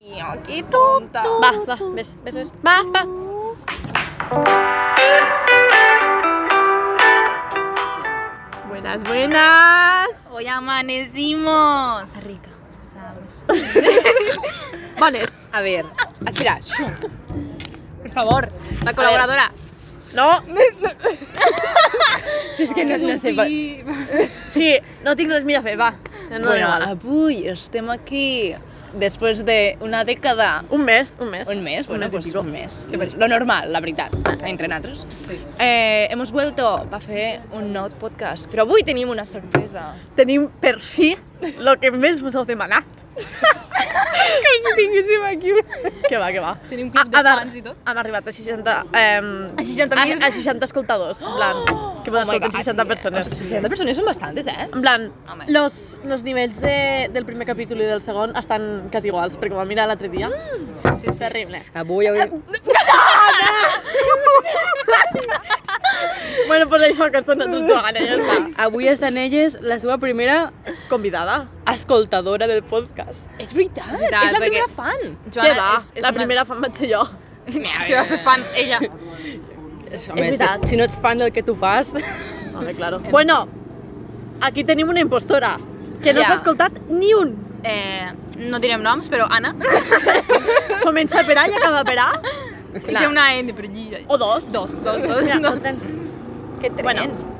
Tío, qué tonta. Va, va, ves, ves, ves. Va, va. Buenas, buenas. Hoy amanecimos. Rica, sabrosa. Vanes. A ver, aspira. Por favor, la colaboradora. No, es que no, no sé. sí, no tinc res més a fer, va. Ja no Bueno, ah, bueno, val. avui estem aquí després de una dècada Un mes, un mes. Un mes, bueno, mes i pues pico. un mes. Lo normal, la veritat, entre nosaltres. Sí. Eh, hemos vuelto a fer un nou podcast, però avui tenim una sorpresa. Tenim per fi lo que més vos heu demanat. Com si tinguéssim aquí un... Que va, que va. Tenim club de Ah, hem ar- fans i tot. Hem arribat a 60... Eh, A 60.000? A, a 60 escoltadors, en plan. que mos escolten 60 persones. Ah, 60 persones són bastantes, eh? En plan, Home. los, los nivells de, del primer capítol i del segon estan quasi iguals, perquè ho vam mirar l'altre dia. Mm. Sí, sí. Terrible. Avui, avui... Bueno, pues això, que estan tots jugant, ja està. Avui estan elles la seva primera Convidada. escoltadora del podcast. És veritat, és, veritat, la perquè- primera fan. Joana, Què va? és- és la una- primera fan vaig ser jo. Se va fer fan ella. Home, és que veritat. si no ets fan del que tu fas... Vale, claro. Bueno, aquí tenim una impostora, que no Ja. s'ha escoltat ni un. Eh, no direm noms, però Anna. Comença per A i acaba per A, I té una N per allí. o dos. Dos, dos, dos. Mira, dos. el tren. Que tren. Bueno.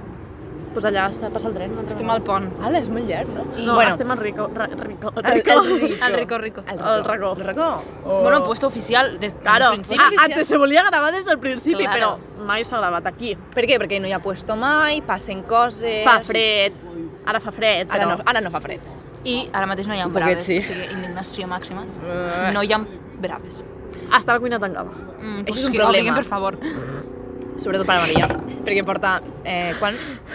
Pues allà està, passa el tren. una altra Estem vegada. al pont. Ala, és molt llarg, no? No, estem al rico, ra- rico, rico. Al rico, rico. Al racó. El racó. Oh. Bueno, puesto oficial des Claro, del ah, principi. antes se volia gravar des del principi, Claro. però mai s'ha gravat aquí. Per què? Perquè no hi ha puesto mai, passen coses... Fa fred, ara fa fred, Ara però... no, ara no fa fred. I ara mateix no hi ha Un poquet, braves, sí. o sigui, indignació màxima. Mm. No hi ha braves. Està la cuina tancada. Mm, Això és pues un que problema. obliguen, per favor. Sobretot per a Maria, perquè porta eh, quan,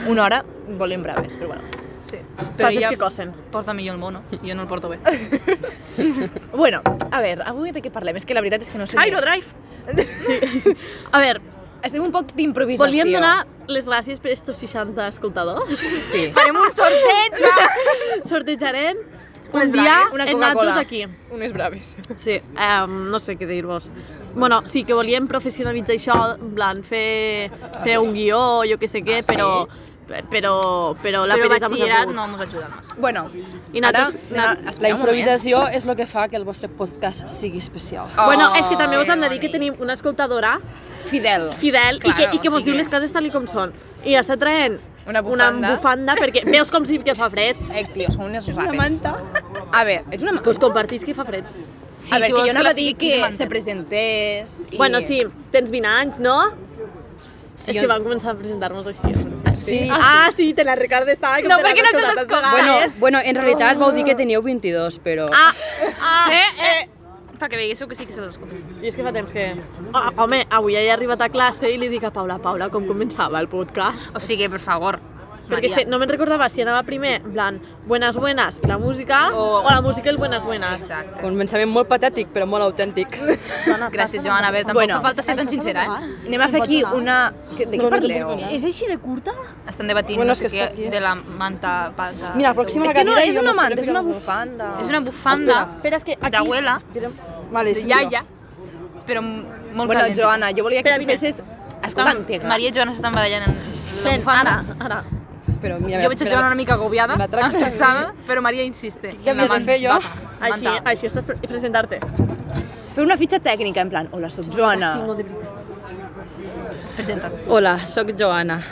una hora volent braves, però bueno. Sí. Fases que cosen. porta millor el mono, jo no el porto bé. Bueno, a veure, avui de què parlem? És que la veritat és que no sé... Drive! Sí. A veure, Estem un poc d'improvisació. volíem donar les gràcies per estos 60 escoltadors. Sí. Farem un sorteig, va! Sortejarem Unes un dia braves. Una en Coca-Cola. nosaltres aquí. Unes braves. Sí, um, no sé què dir-vos. Bueno, sí que volíem professionalitzar això, en plan, fer, fer un guió, jo què sé què, Ah, sí? però, però, però la peresa Però mos ha batxillerat pogut. no mos ajuda massa. Bueno, I ara... nosaltres... Ara, na- La espera un moment. improvisació és el que fa que el vostre podcast sigui especial. Oh, bueno, és que també us hem de dir que que tenim una escoltadora Fidel. fidel i Claro, que, i que mos sí diu que- les coses tal i com són. I està traient Una una bufanda. bufanda perquè veus com sí que fa fred. Eh, tio, són unes rates. Una manta. A veure, ets una manta. Pues compartís que fa fred. Sí, a veure, si que vols jo anava a la dir fiqui, que mantén. se presentés... I... Bueno, sí, tens 20 anys, no? Sí, és jo- que van començar a presentar-nos així. al principi. Sí. Ah, sí, te la Ricard estava... No, perquè no te les Ah, compres. Bueno, bueno, en realitat vau dir que teníeu 22, però... Ah, Eh, eh! Fa que veguéssiu que sí que se l'escolta. I és que fa temps que... Oh, home, avui ja he arribat a classe i li dic a Paula, Paula, com començava el podcast? O sigui, per favor, Perquè és que Maria. no me'n recordava si anava primer, en plan, buenas, buenas, i la música, o, O- o la música i el buenas, buenas. Exacte. Un pensament molt patètic, però molt autèntic. Gràcies, Joana. A veure, tampoc Bueno. fa falta ser tan sincera, eh? Anem a fer aquí una... Que- De què parleu? És així de curta? Estem debatint Bueno, no és sé que està què, aquí. de la manta... Panta, Mira, la pròxima És que no, cadira és jo una m'espero manta, és que una vosaltres. bufanda. És una bufanda Espera, és que aquí... d'abuela, Vale, de sí, iaia, però m- molt Bueno, calenta. Joana, jo volia que Espera, tu mira. fessis... Escolta, Estan- Antiga. Maria i Joana s'estan barallant en la Ven, bufanda. ara, ara. Però mira, Jo veig a Joana una mica agobiada, La traca estressada, però Maria insiste. Què havia de fer jo? Així, així estàs pre presentar-te. Fer una fitxa tècnica, en plan, hola, sóc Joana. Presenta't. Hola, sóc Joana.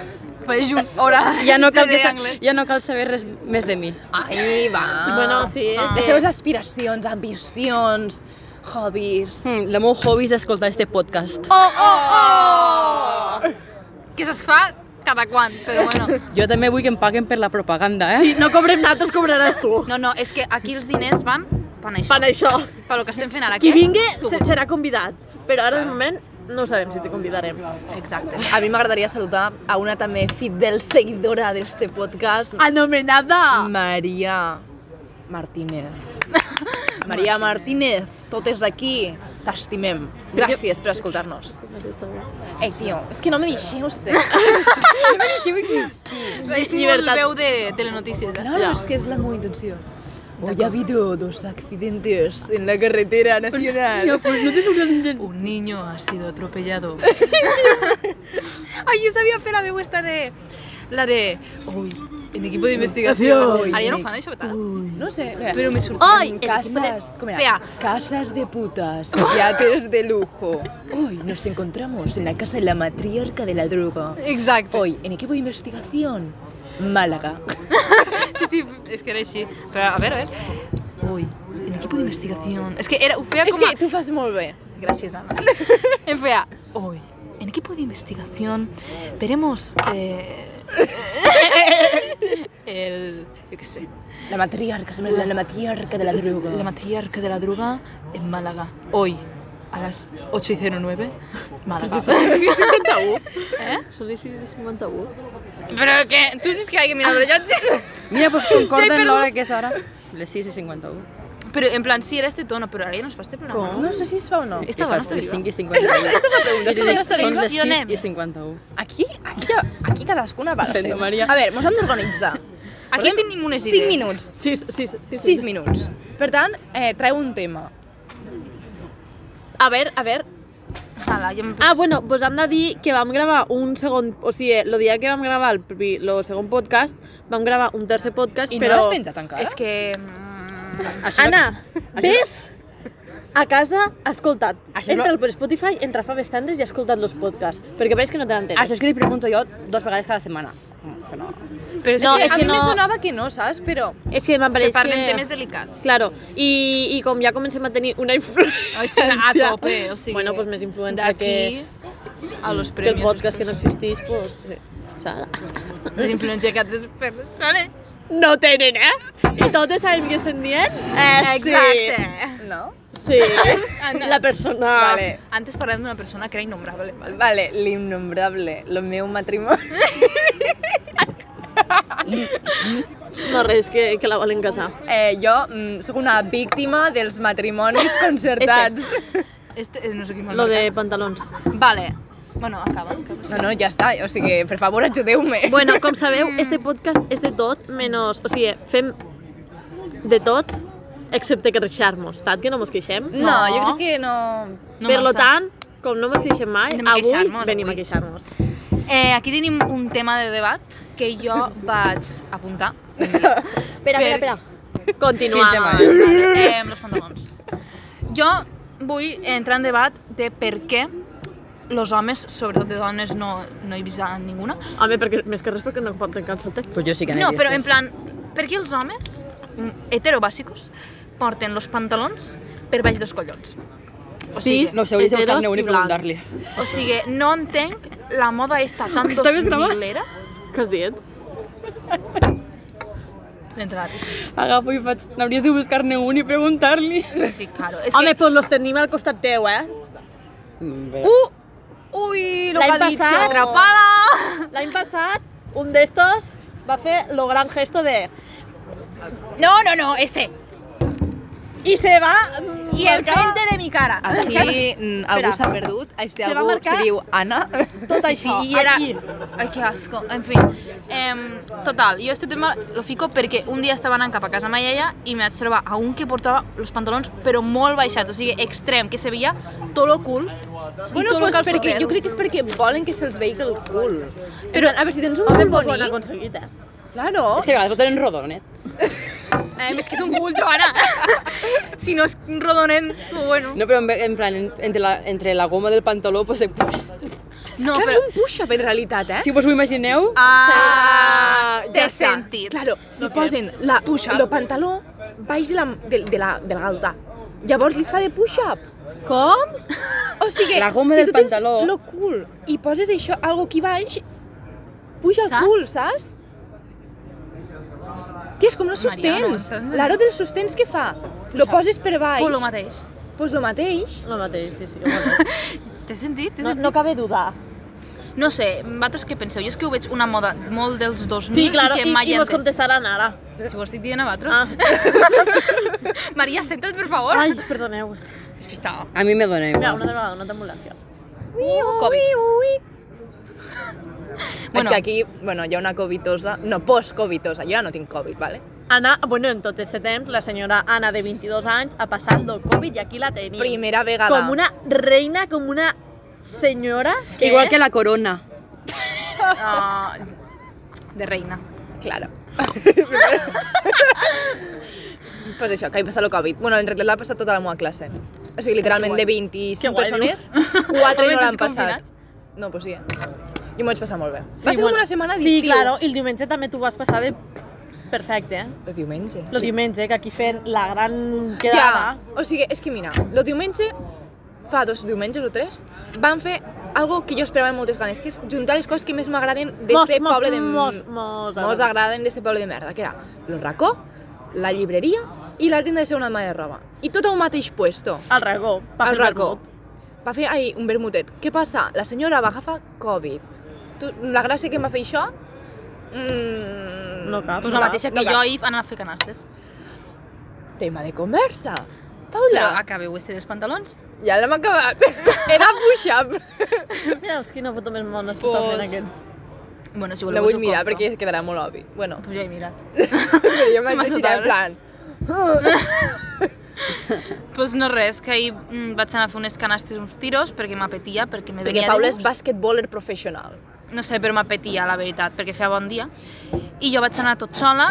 Pareix un hora Ja no, cal que de sa... anglès. ja no cal saber res més de mi. Ai, va. Bueno, sí. Les teves aspiracions, ambicions, hobbies... Hmm, Oh. el meu hobby és escoltar este podcast. Que se'ls fa cada quan, però bueno. Jo també vull que em paguen per la propaganda, eh? Sí, no cobrem nosaltres, cobraràs tu. No, no, és que aquí els diners van per això. Fan això. Per lo que estem fent ara, Qui que és vingui tu. se- serà convidat, però ara de moment no sabem si te convidarem. Exacte. A mi m'agradaria saludar a una també fidel seguidora d'este podcast, Ah. Anomenada! Maria Martínez. Maria Martínez, totes aquí, t'estimem. Gràcies per escoltar-nos. Ei, tio, és que no me deixeu ser. És molt llibertat. veu de telenotícies. Eh? Claro, és que és la meva intenció. Hoy ha habido dos accidentes en la carretera nacional. pues no te sorprenden. Un niño ha sido atropellado. Ay, yo sabía fer la veu esta de... La de... Uy, en equipo de investigación. Ara ja no ho fan, això, tal? No sé, Pero me surgió. Hoy el equipo de- casas, ¿cómo era? Fea. casas de putas, yates de lujo. Hoy nos encontramos en la casa de la matriarca de la droga. Exacto. Hoy en equipo de investigación, Málaga. Sí, sí, és que era així. Però, a veure, a veure. Uy, en equipo de investigación. És que era, ho feia Es com a... que tú fas muy bien. Gràcies, Anna. Em feia... Hoy, en equipo de investigación, veremos. eh, el. Yo qué sé. La matriarca, siempre la, la matriarca de la droga. La matriarca de la droga en Málaga. Hoy, a las 8 y 09, Pues Málaga. Eh? Són les 6.51. Però què? Tu has vist que hi ha mirat el rellotge? Mira, pues concorden l'hora que és ara. Les 6 i 51. Però, en plan, sí, era este tono, però ara ja no es fa este programa. No sé si es fa o no. Esta Que dona fas està les viva. 5 i Esta dona 51. està Són viva. les 6 Accionem. i 51. Aquí, aquí, aquí cadascuna va Sento, Maria. A veure, mos hem d'organitzar. Aquí tenim unes 5 idees. minuts, 6, 6, 6. 6 minuts. Per tant, eh, treu un tema. A veure, a veure. Mala, ja m'he Ah, bueno, pues hem de dir que vam gravar un segon... O sigui, el dia que vam gravar el, pri- el segon podcast, vam gravar un tercer podcast, I però... no l'has penjat encara? És que... mm, Això Anna, Això- ves a casa, escolta't. Això Això no- entra per Spotify, entra fa tendres i escolta't els podcasts, perquè veus que no te n'entens. Això és que li pregunto jo dos vegades cada setmana. Mm, Que no. Però és No, que és a que mi me no- sonava que no, saps? Però... és que m'apareix se que... parlen temes delicats. Claro, i, i com ja comencem a tenir una influència... Ay, sí, a tope. O sea, bueno, pues més influència de que, aquí a los que el premios. podcast que no Doncs existeix, pues... Sí. O sigui, Les influencias que haces personas. no tenen, eh? I totes sabem què estem dient? Eh, Exacte. No? Sí. La persona... Vale. Antes parlàvem d'una persona que era innombrable, ¿vale? Vale, l'innombrable, lo meu matrimoni. No, res, que, que la volen casar. Eh, jo mm, sóc una víctima dels matrimonis concertats. Este, eh, no sé quin mal Lo marca. de pantalons. Vale. Bueno, acaba. acaba. No, no, ja està, o sigui, per favor, ajudeu-me. Bueno, com sabeu, este podcast és de tot menys... O sigui, fem de tot excepte queixar-nos, tant que no mos queixem. No, jo crec que no... No per lo massa. tant, com no mos queixem mai, Anem a avui queixar-nos, venim avui. a queixar-nos. Eh, aquí tenim un tema de debat que jo vaig apuntar. Espera, Per- espera, espera. Continuam. Quin eh, amb els pantalons. Jo vull entrar en debat de per què els homes, sobretot de dones, no, no he vist a ninguna. Home, perquè, més que res perquè no pot tancar el seu text. Pues jo sí que n'he No, vist però en les. plan, per què els homes mm, heterobàsicos porten els pantalons per baix dels collons? O sigui, Sis, No, si hauries de heteros buscar-ne un i blancs. preguntar-li. o sigui, no entenc la moda esta tan Està bé gravat? 2000-era Què has dit? d'entrar a la piscina. Agafo i faig... N'hauries de buscar-ne un i preguntar-li. Sí, claro. És Home, que, pues los tenim al costat teu, eh? Uh! Ui, lo que L'any ha dit. passat, atrapada! l'any passat, un d'estos va fer lo gran gesto de... No, no, no, este. I se va... mm, I enfrente de mi cara. Aquí mm, algú Espera. s'ha perdut, este Se va algú marcar- se diu Anna. Tot sí, això, sí, i era... aquí. Ai, que asco. En fi, em, total, jo este tema lo fico perquè un dia estava anant cap a casa ma iaia i me vaig trobar a un que portava els pantalons però molt baixats, o sigui, extrem, que se veia tot lo cul i Bueno, tot lo pues calçotero. perquè, jo crec que és perquè volen que se'ls vegi el cul. Però, a veure, si tens un cul Pues ho han bonic... aconseguit, eh? Claro. És que a vegades ho tenen rodonet. Eh, és que és un cul, Joana. si no és rodonet, tu, bueno. No, però en, en plan, en- entre la, entre la goma del pantaló, pues, se puja. No, Clar, però... és un push-up en realitat, eh? Si vos ho imagineu, Ah, Ja té està. sentit. Claro, si posen la, el pantaló baix de la, de, de la, de la galta, llavors li fa de push-up. Com? O sigui, La goma si del tu tens pantaló. lo cul i poses això, algo aquí baix, puja el Saps? cul, saps? Tia, és com el sostén. Mariano, saps? L'aro dels sostens que fa? Lo poses per baix. Pues lo mateix. Pues lo mateix. Lo mateix, sí, sí. Bueno. Té sentit, té No, sentit. no cabe dudar. No sé, vosaltres què penseu? Jo és que ho veig una moda molt dels 2000 Sí, claro, i, i que mai i mos he entès. contestaran ara. Si ho estic dient a vosaltres. Ah. Maria, centra't, per favor. Ah. Ai, perdoneu. Despistada. a mi me dona Mira, igual. una altra vegada, una altra ambulància. Covid. Bueno. És que aquí, bueno, hi ha una covitosa, no, post-covitosa, jo ja no tinc Covid, vale? Anna, bueno, en tot aquest temps, la senyora Anna de 22 anys ha passat el Covid i aquí la tenim. Primera vegada. Com una reina, com una senyora. Que... Igual que la corona. Ah, de reina. Claro. pues això, que ha passat el Covid. Bueno, en realitat l'ha passat tota la meva classe. O sigui, literalment de 25 Que guai, persones, 4 Home, no l'han passat. tots confinats? No, pues sí, eh? I m'ho vaig passar molt bé. Va ser com una setmana Sí, d'estiu. claro, i el diumenge també tu vas passar de perfecte, eh? El diumenge. El diumenge, que aquí fent la gran Ja, quedada. o sigui, és que mira, el diumenge, fa dos diumenges o tres, van fer algo que jo esperava amb moltes ganes, que és juntar les coses que més m'agraden Mos, d'este mos, poble de... mos, mos mos agraden d'este poble de merda, que era el racó, la llibreria i la tenda de segona mà de roba. I tot a un mateix puesto. El racó. va al fer racó. vermut. Va fer ahir un vermutet. Què passa? La senyora va agafar Covid. Tu, la gràcia que em va fer això... Mm, No cap. Pues la Va, mateixa no que cap. jo i anar a fer canastes. Tema de conversa. Però Paula, acabeu este dels pantalons. ja l'hem acabat. Era push-up. Mira, els quina foto més mona Pues- s'estan fent aquests. Bueno, si voleu Lo us vull ho mirar compto. perquè quedarà molt obvi. Bueno, Pues ja he mirat. però jo m'haig M'ha de girar sotat. en plan... pues no res, que ahir mm, vaig anar a fer unes canastes, uns tiros, perquè m'apetia, perquè me Perquè venia Paula de és gust. basquetballer professional. No sé, però m'apetia, la veritat, perquè feia bon dia. I jo vaig anar tot sola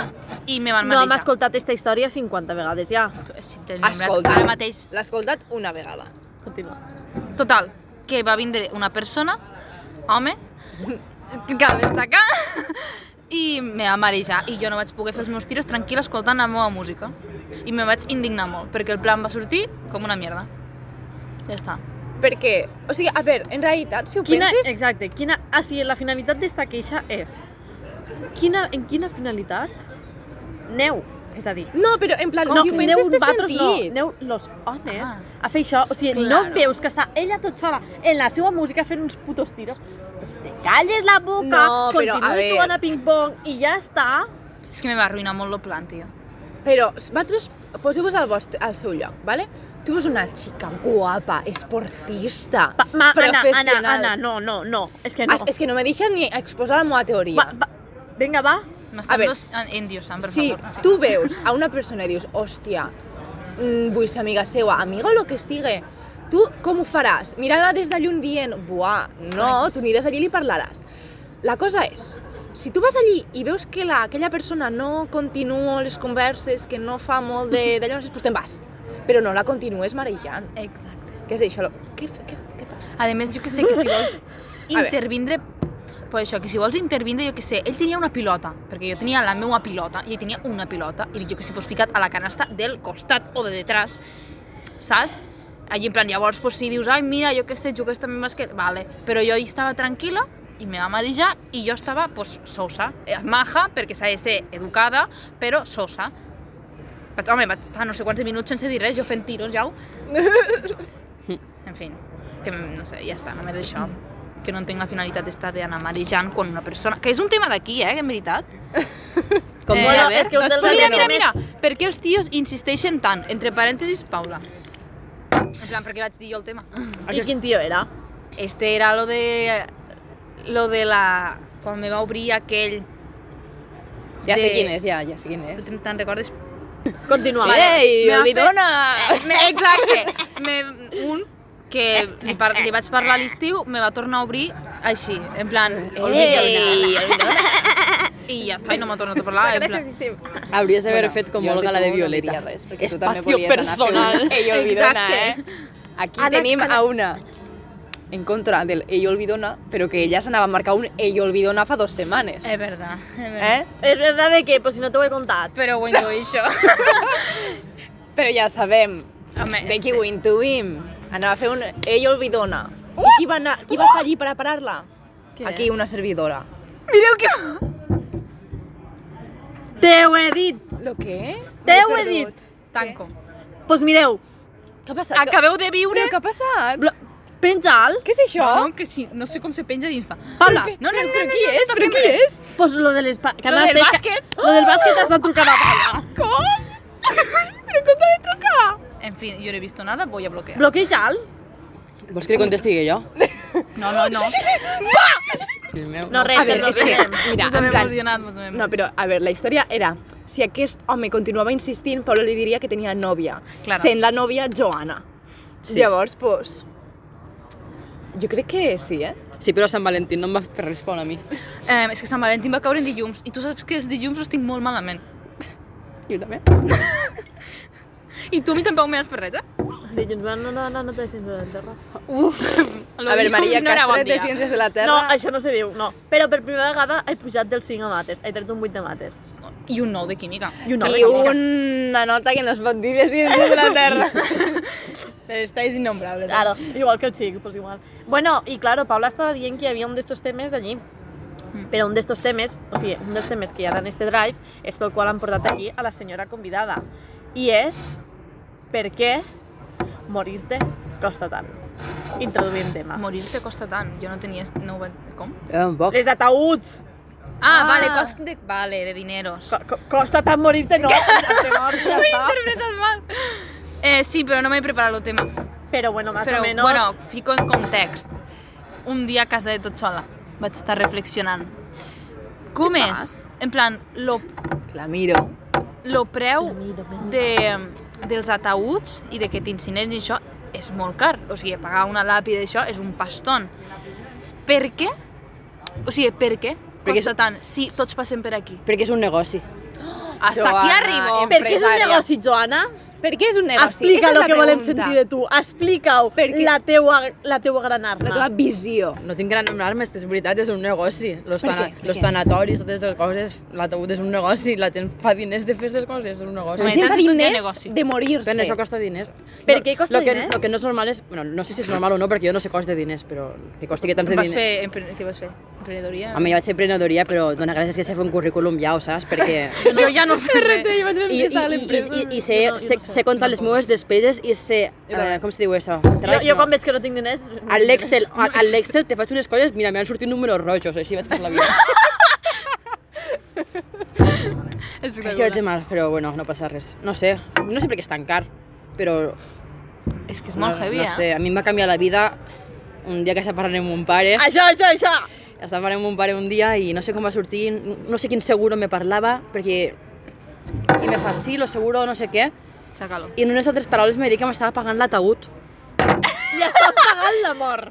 i me van No, hem marejar. escoltat aquesta història 50 vegades ja. Si tenim Escolta, ara mateix l'ha escoltat una vegada. Continua. Total, que va vindre una persona, home, cal destacar, i me va marejar. I jo no vaig poder fer els meus tiros tranquil escoltant la meva música. I me vaig indignar molt, perquè el plan va sortir com una mierda. Ja està. Perquè, o sigui, a veure, en realitat, si ho Quina, penses... exacte, quina, ah, sí, la finalitat d'esta queixa és quina, en quina finalitat neu, és a dir, No, però en plan, si ho neu penses té vosaltres sentit. no, neu los homes Ah. a fer això, o sigui, Claro. no veus que està ella tot sola en la seva música fent uns putos tiros, pues te calles la boca, No, però, a continues ver. jugant a ping-pong i ja està. És que me va arruïnar molt el plan, tio. Però vosaltres poseu-vos al, vostre, al seu lloc, ¿vale? Tu ets una xica guapa, esportista, Pa, ma, Anna, Anna, professional... Anna, no, no, no, és que Ah, no. és- és que no me deixa ni exposar la meva teoria. va, va, vinga, va, A M'estan ver. dos en- endiosant, per si favor. tu veus a una persona i dius, hòstia, mm, vull ser amiga seva, amiga o lo que sigue, tu com ho faràs? Mirant-la des de lluny dient, buah, no, tu aniràs allí i li parlaràs. La cosa és, si tu vas allí i veus que la, aquella persona no continua les converses, que no fa molt de- d'allò, doncs te'n vas. Però no la continues marejant. Exacte. Què és això? Què, fa- què, què passa? A més, jo que sé que si vols ver. intervindre... Per això, que si vols intervindre, jo que sé, ell tenia una pilota, perquè jo tenia la meva pilota, i ell tenia una pilota, i jo que sé, pues, ficat a la canasta del costat o de detrás, saps? Allí en plan, llavors, pues, si dius, ai, mira, jo que sé, jugues també amb basquet, vale. Però jo hi estava tranquil·la, i me va marejar, i jo estava, pues, sosa, eh, maja, perquè s'ha de ser educada, però sosa. Vaig, home, vaig estar no sé quants minuts sense dir res, jo fent tiros, ja ho... En fi, que no sé, ja està, només això. Que no entenc la finalitat d'estar d'anar marejant quan una persona... Que és un tema d'aquí, eh, en veritat. Com Eh, Bueno, a veure, és que un doncs, dels pues mira, mira, temes- mira, per què els tios insisteixen tant? Entre parèntesis, Paula. En plan, perquè vaig dir jo el tema. i quin tio era? Este era lo de... Lo de la... Quan me va obrir aquell... Ja sé de- quin és, ja, ja sé quin és. Tu te'n recordes? Continua. Ei, me va fer- Eh, olidona! Me- Exacte. Me, un que li, par li vaig parlar a l'estiu, me va tornar a obrir així, en plan, Eh, Ei, olidona! i ja està, i no m'ha tornat a parlar, en plan, Hauries d'haver fet com jo Olga, la de tu no Violeta. diria res, perquè tu també Espacio volies anar a fer personal. un Ell olvidona, Exacte. eh? Aquí tenim a una en contra del ell olvidona, però que ella s'anava a marcar un ell olvidona fa dos setmanes. és verdad, és verdad. Eh? És verdad de que, pues si no t'ho he contat. Però ho intuïixo. Però ja sabem, Home, de qui sí. ho intuïm. Anava a fer un ell olvidona. I qui va, anar, qui va estar allí per a parar-la? Què? Aquí una servidora. Mireu que... Te ho he dit! Lo què? Te M'he ho he perdut. dit! Tanco. Pues mireu, Què ha passat? Acabeu de viure... Però què ha passat? bla- penja'l. Què és això? No, que sí, no sé com se penja d'Insta. Però Paula, què- No, no, no, Però qui és? no Però toquem qui res. és? pues lo de les... pa- Lo canastes del que- bàsquet? Lo del bàsquet has de trucar a Paula. Com? Però com t'ha de trucar? En fi, jo no he vist nada, voy a bloquear. Bloqueja'l. Vols que li contesti jo? No, no, no. El meu. No, res, A veure, no, és que, res. mira, Mos hem en plan, emocionat, mos hem No, però, a veure, la història era si aquest home continuava insistint, Paula li diria que tenia nòvia, Claro. sent la nòvia Joana. Sí. Llavors, pues, jo crec que sí, eh? Sí, però Sant Valentí no em va fer respondre a mi. Eh, és que Sant Valentí va caure en dilluns i tu saps que els dilluns els tinc molt malament. Jo també. I tu a mi tampoc m'has fet res, eh? Dilluns van anar a la nota de ciència de la Terra. Lo a veure, dilluns Maria no era Castret, de dia. Ciències de la No, Terra... això no se diu, no. Però per primera vegada he pujat del 5 a mates, he tret un 8 de mates. I un nou de química. I un 9 I una nota que no es pot dir de Ciències de la Terra. Però esta és innombrable. Claro, igual que el chico, pues igual. Bueno, y claro, Paula estaba diciendo que había un de estos temes allí, pero un de estos temes, o sigui, un dels temes que hi ha en este drive és pel qual han portat aquí a la senyora convidada. I és per què morir-te costa tant. Introduint tema. Morir te costa tant. Jo no tenia... No ho va... Com? Jo tampoc. Les ataúds! Ah, vale, costa de... Vale, de dineros. Co- co- costa tant morir-te, no? Te mors, ja està. interpretat mal. Eh, sí, però no m'he preparat el tema. Però bueno, más però, o menos... bueno, fico en context. Un dia a casa de tot sola vaig estar reflexionant. Com és? En plan, lo, La miro. lo preu de, dels ataúds i de que t'incinerin i això és molt car. O sigui, pagar una làpida i això és un paston. Per què? O sigui, per què? Perquè Perquè costa tant, si tots passem per aquí. Perquè és un negoci. Hasta aquí arribo. Per què és un empresària. negoci, Joana? Per què és un negoci? Explica Aquesta és el la que volem pregunta. sentir de tu. Explica-ho, Per què- la teua, la teua gran La teva arma. visió. No tinc gran anomenar-me, és que és veritat, és un negoci. Los, Per tana, què? Per los què? tanatoris, totes aquestes coses, l'ataúd és un negoci, la gent fa diners de fer aquestes coses, és un negoci. La Bueno, gent fa t'has dit un diners negoci. de morir-se. Però això costa diners. Per Lo- què costa lo que, diners? Lo que no és normal és... Bueno, no sé si és normal o no, perquè jo no sé cost de diners, però que costi que tants Què de vas diners... fer? Empre... Què vas fer? Emprenedoria? Home, jo vaig ser emprenedoria, però dona gràcies que sé fer un currículum ja, ho saps? Perquè... Jo ja no sé res. Jo vaig I, i, i, i, i, i sé, Jo no- jo no sé, sé. sé comptar les meves despeses i sé... Eh, com se diu això? Jo, Drive, jo no. quan veig que no tinc diners... A l'Excel, a, a l'Excel te faig unes coses, mira, m'han sortit números rojos, així vaig passar la vida. Així vaig de mal, però bueno, no passa res. No sé, no sé per què és tan car, però... És que és molt no, heavy, no sé, eh? a mi em va canviar la vida un dia que estava parlant amb mon pare, Això, això, això! estava parlant amb mon pare un dia i no sé com va sortir, no sé quin seguro me parlava, perquè... I me fa, sí, lo seguro, no sé què, Saca-lo. i en unes altres paraules me dir que m'estava pagant l'ataúd. Li està pagant l'amor.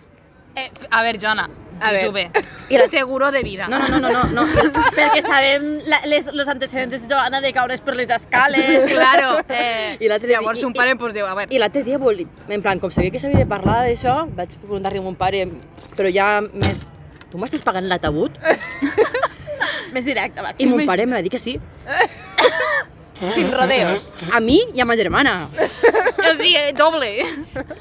Eh, f- a ver, Joana, A dis-ho ver. bé. I la- Seguro de vida. No, no, no, no, no, no. I el- Perquè sabem la, les, los antecedents de Joana de caures per les escales. Claro. Eh, I l'altre dia- llavors i- un i- pare pues, diu, a veure, I l'altre dia, vol... en plan, com sabia que s'havia de parlar d'això, vaig preguntar-li a mon pare, però ja més... Tu m'estàs pagant l'ataúd? Més directe, va. I mon pare em va dir que sí. Sin rodeos. A mi i a ma germana. o sigui, eh, doble.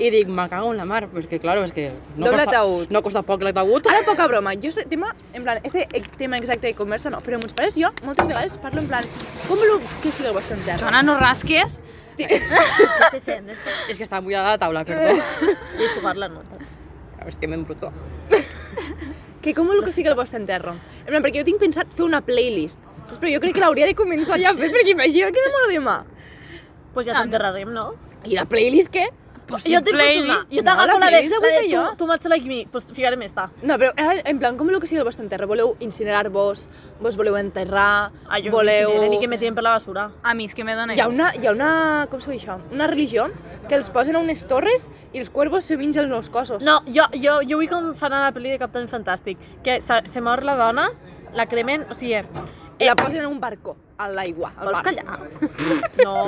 I dic, me cago en la mar, però és que, claro, és que... Doble costa- ataúd. No costa poc l'ataúd. Ara, Tota poca broma, jo este tema, en plan, este tema exacte de conversa no, però amb els pares jo moltes vegades parlo en plan, com voleu que sigui el vostre enterro? Joana, no rasques. Se sent, eh? És que estava mullada la taula, perdó. I sugar la nota. és que m'embrutó. Que com voleu que sigui el vostre enterro? En plan, perquè jo tinc pensat fer una playlist, saps? Però jo crec que l'hauria de començar ja a fer, perquè imagina que demoro demà. Pues ja t'enterrarem, no? I la playlist què? Pues, jo tinc una. Jo t'agafo No, la la de... playlist La avui de que tu, jo. tu m'has like me. Pues ficarem esta. No, però ara, en plan, com voleu que sigui el vostre enterro? Voleu incinerar-vos? Vos voleu enterrar? Ah, jo voleu... no sé ni que me tiren per la basura. A mi és que me dona. Hi ha una, hi ha una, com s'ho diu això? Una religió que els posen a unes torres i els cuervos se mengen els cossos. No, jo, jo, jo vull com fan a la pel·li de Captain Fantàstic, que se, se mor la dona, la cremen, o sigui, I Eh, la posen en un barco, a l'aigua. al Vols mar. callar? No.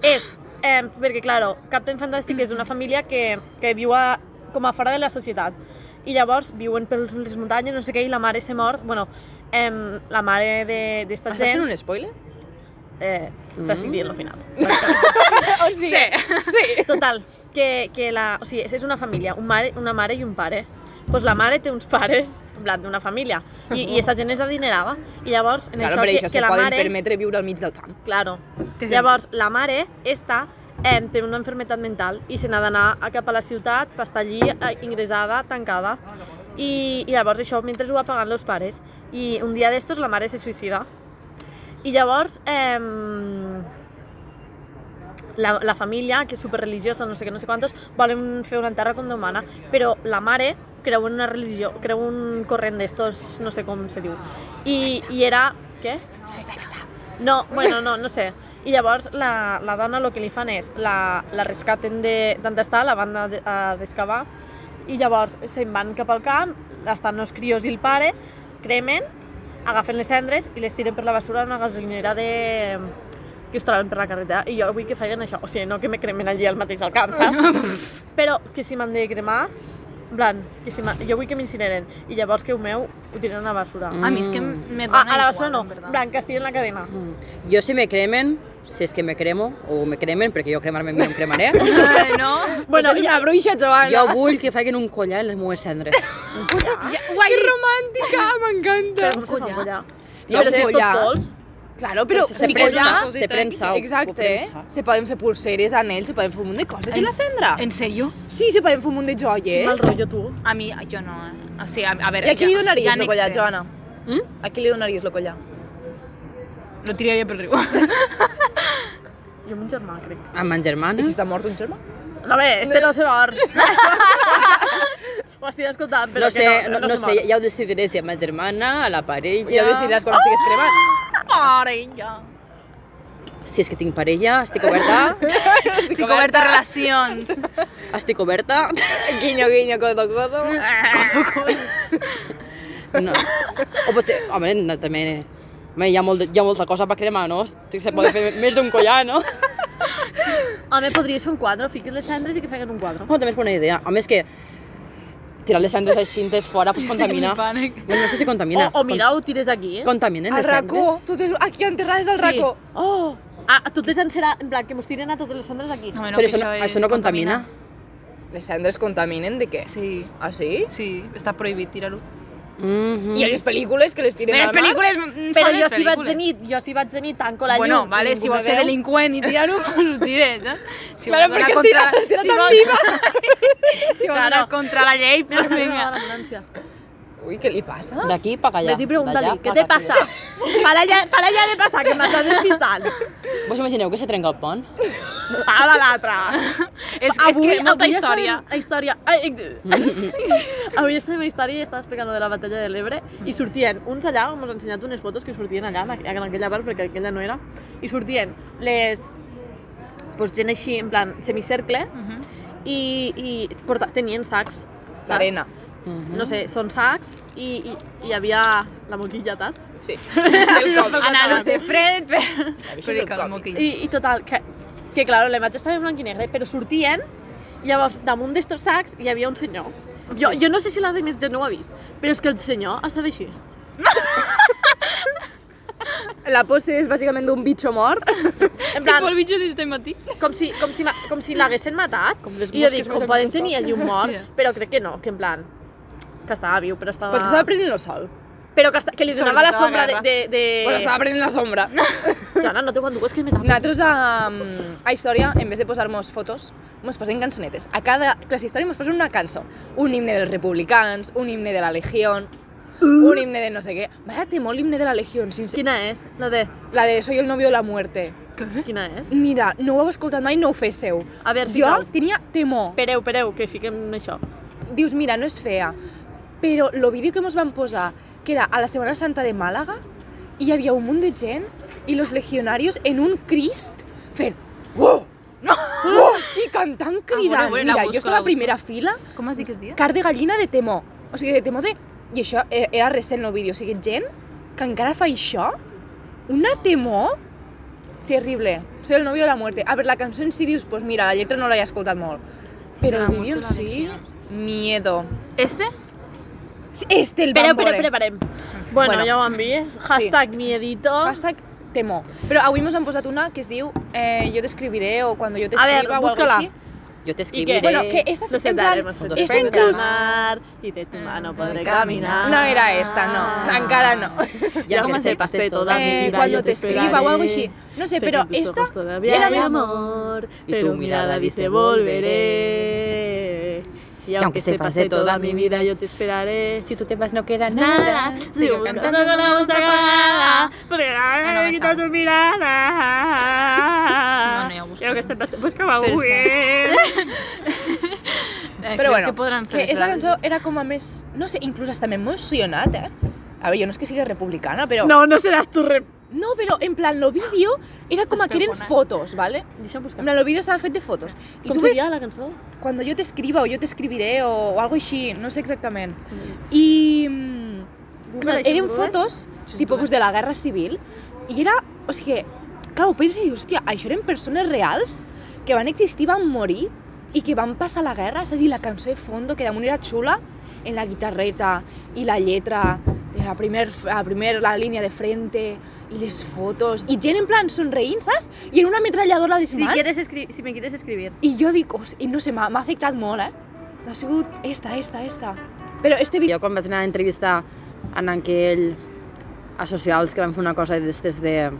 és, eh, perquè, claro, Captain Fantastic és una família que, que viu a, com a fora de la societat. I llavors viuen per les muntanyes, no sé què, i la mare se mor. Bueno, em, la mare de- d'esta Estàs fent gent... un spoiler? Eh, T'estic dient al final. Mm. O sigui, sí. sí. Total, que, que la, o sigui, és una família, un mare, una mare i un pare. Pues la mare té uns pares, en plan, d'una família. I, I esta gent és adinerada. I llavors, en Claro, això, per que, això se que la poden mare... permetre viure al mig del camp. Claro. Llavors, la mare, esta, eh, té una enfermedad mental i se n'ha d'anar a- cap a la ciutat per estar allí eh, ingressada, tancada. I, I llavors això, mentre ho va pagant els pares. I un dia d'estos la mare se suïcida. I llavors, eh, la, la família, que és superreligiosa, no sé què, no sé quantos, volen fer una enterra com Déu mana, però la mare creu en una religió, creu un corrent d'estos, no sé com se diu. I, i era... Què? No, bueno, no, no sé. I llavors la, la dona el que li fan és la, la rescaten de- d'on està, la van a, de- a descavar i llavors se'n van cap al camp, estan els crios i el pare, cremen, agafen les cendres i les tiren per la basura a una gasolinera de que es troben per la carretera i jo vull que feien això, o sigui, no que me cremen allí al mateix al camp, saps? Però que si m'han de cremar, en plan, que si m'ha- jo vull que m'incineren i llavors que el meu ho tiren a la basura. A mi és que me Ah, dona a la basura igual, no, en verdad. Blanca, en la cadena. Yo si me cremen, si es que me cremo, o me cremen, perquè jo cremarme no em cremaré, Eh, no? Bueno, és una bruixa, Joana. jo vull que facin un collar en les meves cendres. Ja, guai! Que romàntica, m'encanta. Però com se fa collar? No, Però si és collar. tot pols, Claro, però se se pot fiques en una ja... cosa. Se prensa. Exacte, eh? Se poden fer pulseres, anells, se poden fer un munt de coses. I En- la cendra? En serio? Sí, se poden fer un munt de mal joies. rotllo tu. A mi, jo no, eh? O sigui, a, a veure... I a qui li donaries el collar, extrems. Joana? Mm? A qui li donaries el collar? Lo tiraria pel riu. Jo amb un germà, crec. A ma germana. I Mm? si està mort un germà? No bé, este no se mor. Ho estic escoltant, però No sé, que no, no, no se sé, mor. ja ho decidiré, si a ma germana, a la parella... Ja decidiràs quan estigues cremant. Ah. Mare, ja. Si és que tinc parella, estic oberta, Estic oberta a relacions. estic oberta... Guinyo, guinyo, codo, codo. Ah. No. O potser, home, no, també... Home, hi ha, molt, hi ha molta cosa per cremar, no? Se pot fer més d'un collar, no? Home, podries fer un quadre, fiques les cendres i que feguen un quadre. No, també és bona idea. Home, és que tirar les cendres així des fora pues, contamina. flipant, eh? No, no sé si O, contamina. o mira, ho tires aquí. Con- Contaminen Al les racó. cendres. Totes aquí enterrades al racó. Oh! Ah, a totes ens serà, en plan, que mos tiren a totes les cendres aquí. No, Però això no, això no contamina. Les cendres contaminen de què? Sí, Ah, sí? sí, està prohibit tirar-ho. Mhm. I a les pel·lícules que les tiren Però al les mar? pel·lícules... mm, Però són les jo si vaig pel·lícules. de nit, jo si vaig de nit, tanco la Bueno, llum. i vale, ningú si me vols ser veu. delinqüent i tirar-ho, pues ho tires, eh? Si Claro, vols anar perquè contra... estira- estira tan vols- si vols Claro. anar contra la llei, Mira, pues mira, mira, vinga. la ambulància. Ui, què li passa? D'aquí pa allà. Ves i pregunta-li, d'allà què pa te aquí. passa? Para allà, para allà de passar, que m'estàs despistant. Vos imagineu que se trenca el pont? Para l'altra. És, és que molta avui història. Estem, a història. Ai, avui estem a història i estava explicant lo de la batalla de l'Ebre i sortien uns allà, m'has ensenyat unes fotos que sortien allà, en aqu- en aquella part, perquè aquella no era, i sortien les... Pues, gent així, en plan, semicercle, Mhm. i, i porta, tenien sacs. saps? L'arena. Mhm. No sé, són sacs i, i, i hi havia la moquilla, tat. Sí. El cop. Anar-ho de fred, però... Això és Però el que el còmic. moquilla. I, i total, que, que claro, la imatge estava en blanc i negre, però sortien, i llavors damunt d'estos sacs hi havia un senyor. Jo, jo no sé si la de més gent no ho ha vist, però és que el senyor estava així. La pose és bàsicament d'un bitxo mort. En plan, el este bitxo d'este matí. com si, com si, ma- com si l'haguessin matat. Com les I jo mosques dic, més com al poden costat. tenir allí un mort, Hòstia. però crec que no, que en plan, que estava viu, però estava... Però s'estava prenent el sol. Però que, esta- que li Sobre donava la tota la sombra de... guerra. de, de... Bueno, s'estava prenent la sombra. Joana, no te condugues, que me tapes. Nosaltres a, a història, en vez de posar-nos fotos, ens posen cançonetes. A cada classe d'història ens posen una cançó. Un himne dels republicans, un himne de la legió, un himne de no sé què. M'agrada molt l'himne de la legió, sincer. Quina és? La de... La de Soy el novio de la muerte. Quina és? Mira, no ho heu escoltat mai, no ho féssiu. A veure, Jo fica-ho. tenia temor. Pereu, pereu, que fiquem això. dius, mira, no és fea, però el vídeo que ens van posar, que era a la Semana Santa de Màlaga, hi havia un munt de gent i los legionarios en un crist fent wow! No! Wow! I cantant, cridant. Ah, bueno, la mira, busco, jo estava la a primera fila, Com has dit que es dia? car de gallina de temor. O sigui, de temor de... I això e- era recent el vídeo. O sigui, gent que encara fa això, una temor terrible. Soy el novio de la muerte. A veure, la cançó en si dius, pues mira, la lletra no l'he escoltat molt. Però la el vídeo en muerte, la si... legión. Miedo. Este? Sí, Este el Pereu, van eh. pereu, veure. pereu, parem. Bueno, Bueno. ja ho han vist. Hashtag miedito. Hashtag temor. Però avui mos han posat una que es diu eh, jo t'escriviré o quan jo A veure, t'escriva o alguna busca-la. així. Jo què? t'escriviré. Bueno, que esta No es sé, en plan, daremos un esta beso inclús... al mar i de tu mano podré caminar. No era esta, no. Ah. Encara no. Ja com que es de sé, pasé sé toda todas. mi Eh, vida cuando yo te escriba o algo esperaré. así. No sé, que pero en tus ojos esta todavía era hay mi- amor, Y pero tu mirada mirada dice dice, volveré. Y aunque se pase toda mi vida yo te esperaré. Si tú te vas no queda nada. Sigo cantando con la voz apagada, porque Ah, no me ahora sale. tu mirada. No, no, ya busco. Creo que se pase, buscaba Pero sí. Google. Eh, Però crec bueno, que podran fer que més esta gràcies. cançó era com a més... No sé, inclús hasta m'he emocionat, eh? A ver, yo no es que siga republicana, pero... No, no seràs tu rep... No, però en plan, lo vídeo era com que eren fotos, ¿vale? Deixa'm buscar. En plan, lo vídeo estava fet de fotos. I Com tu ves seria la cançó? cuando yo te escriba o yo te escribiré o, o algo així, no sé exactament. I... mm, Google, això eren és Google? fotos, tipus pues, de la Guerra Civil, i era, o sigui, clar, ho penses i dius, hòstia, això eren persones reals que van existir, van morir i que van passar la guerra, saps? I la cançó de fondo, que damunt era xula, en la guitarreta i la lletra, de la primer, la primer la línia de frente, i les fotos, i gent en plan somreint, saps? I en una metralladora a les Si, mans. quieres escri- si me quieres escribir. I jo dic, "Hosti", i no sé, m'ha m'ha afectat molt, eh? Ha sigut esta, esta, esta. Però este vídeo... Jo quan vaig anar a entrevistar en aquell a socials que van fer una cosa d'estes de...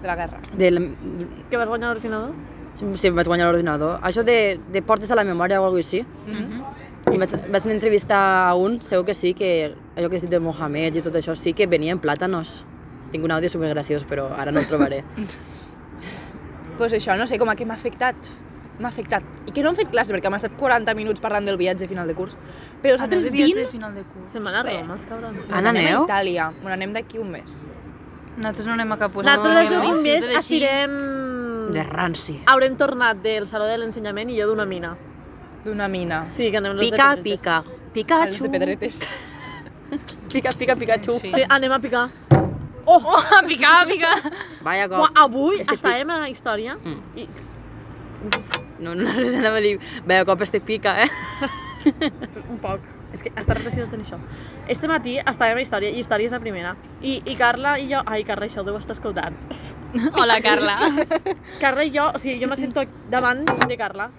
De la guerra. Del, Que vas guanyar l'ordinador? si em vaig guanyar l'ordinador. Això de, de portes a la memòria o alguna cosa així. Mhm. I vaig, vaig anar a entrevistar a un, segur que sí, que allò que he dit de Mohamed i tot això, sí que venia en plàtanos. Tinc un àudio supergraciós, però ara no el trobaré. Pues això, no sé, com a que m'ha afectat. M'ha afectat. I que no hem fet classe, perquè hem estat 40 minuts parlant del viatge final de curs. Però els altres 20... final de curs. Se'n van a Sí. Roma, els cabrons. Anna, anem a aneu? Itàlia. Bueno, anem d'aquí un mes. Nosaltres no anem a cap lloc. Nosaltres des d'un mes Institut així. estirem... De ranci. Haurem tornat del Saló de l'Ensenyament i jo d'una mina. D'una mina. Sí, que anem los de Pica, pedretes. pica. A los de Pikachu. pedretes. Pica, pica, Pikachu. Sí. Sí, anem a picar. A picar, a picar. Vaya Ua, cop. avui Este estàvem a la història Mm. i... No, no, res anava a dir. Vaya cop este pica, eh? Un poc. És que està reflexionat en això. Este matí estàvem a història, i història és la primera. I, i Carla i jo... Ai, Carla, això ho deu estar escoltant. Hola, Carla. Carla i jo, o sigui, jo me sento davant de Carla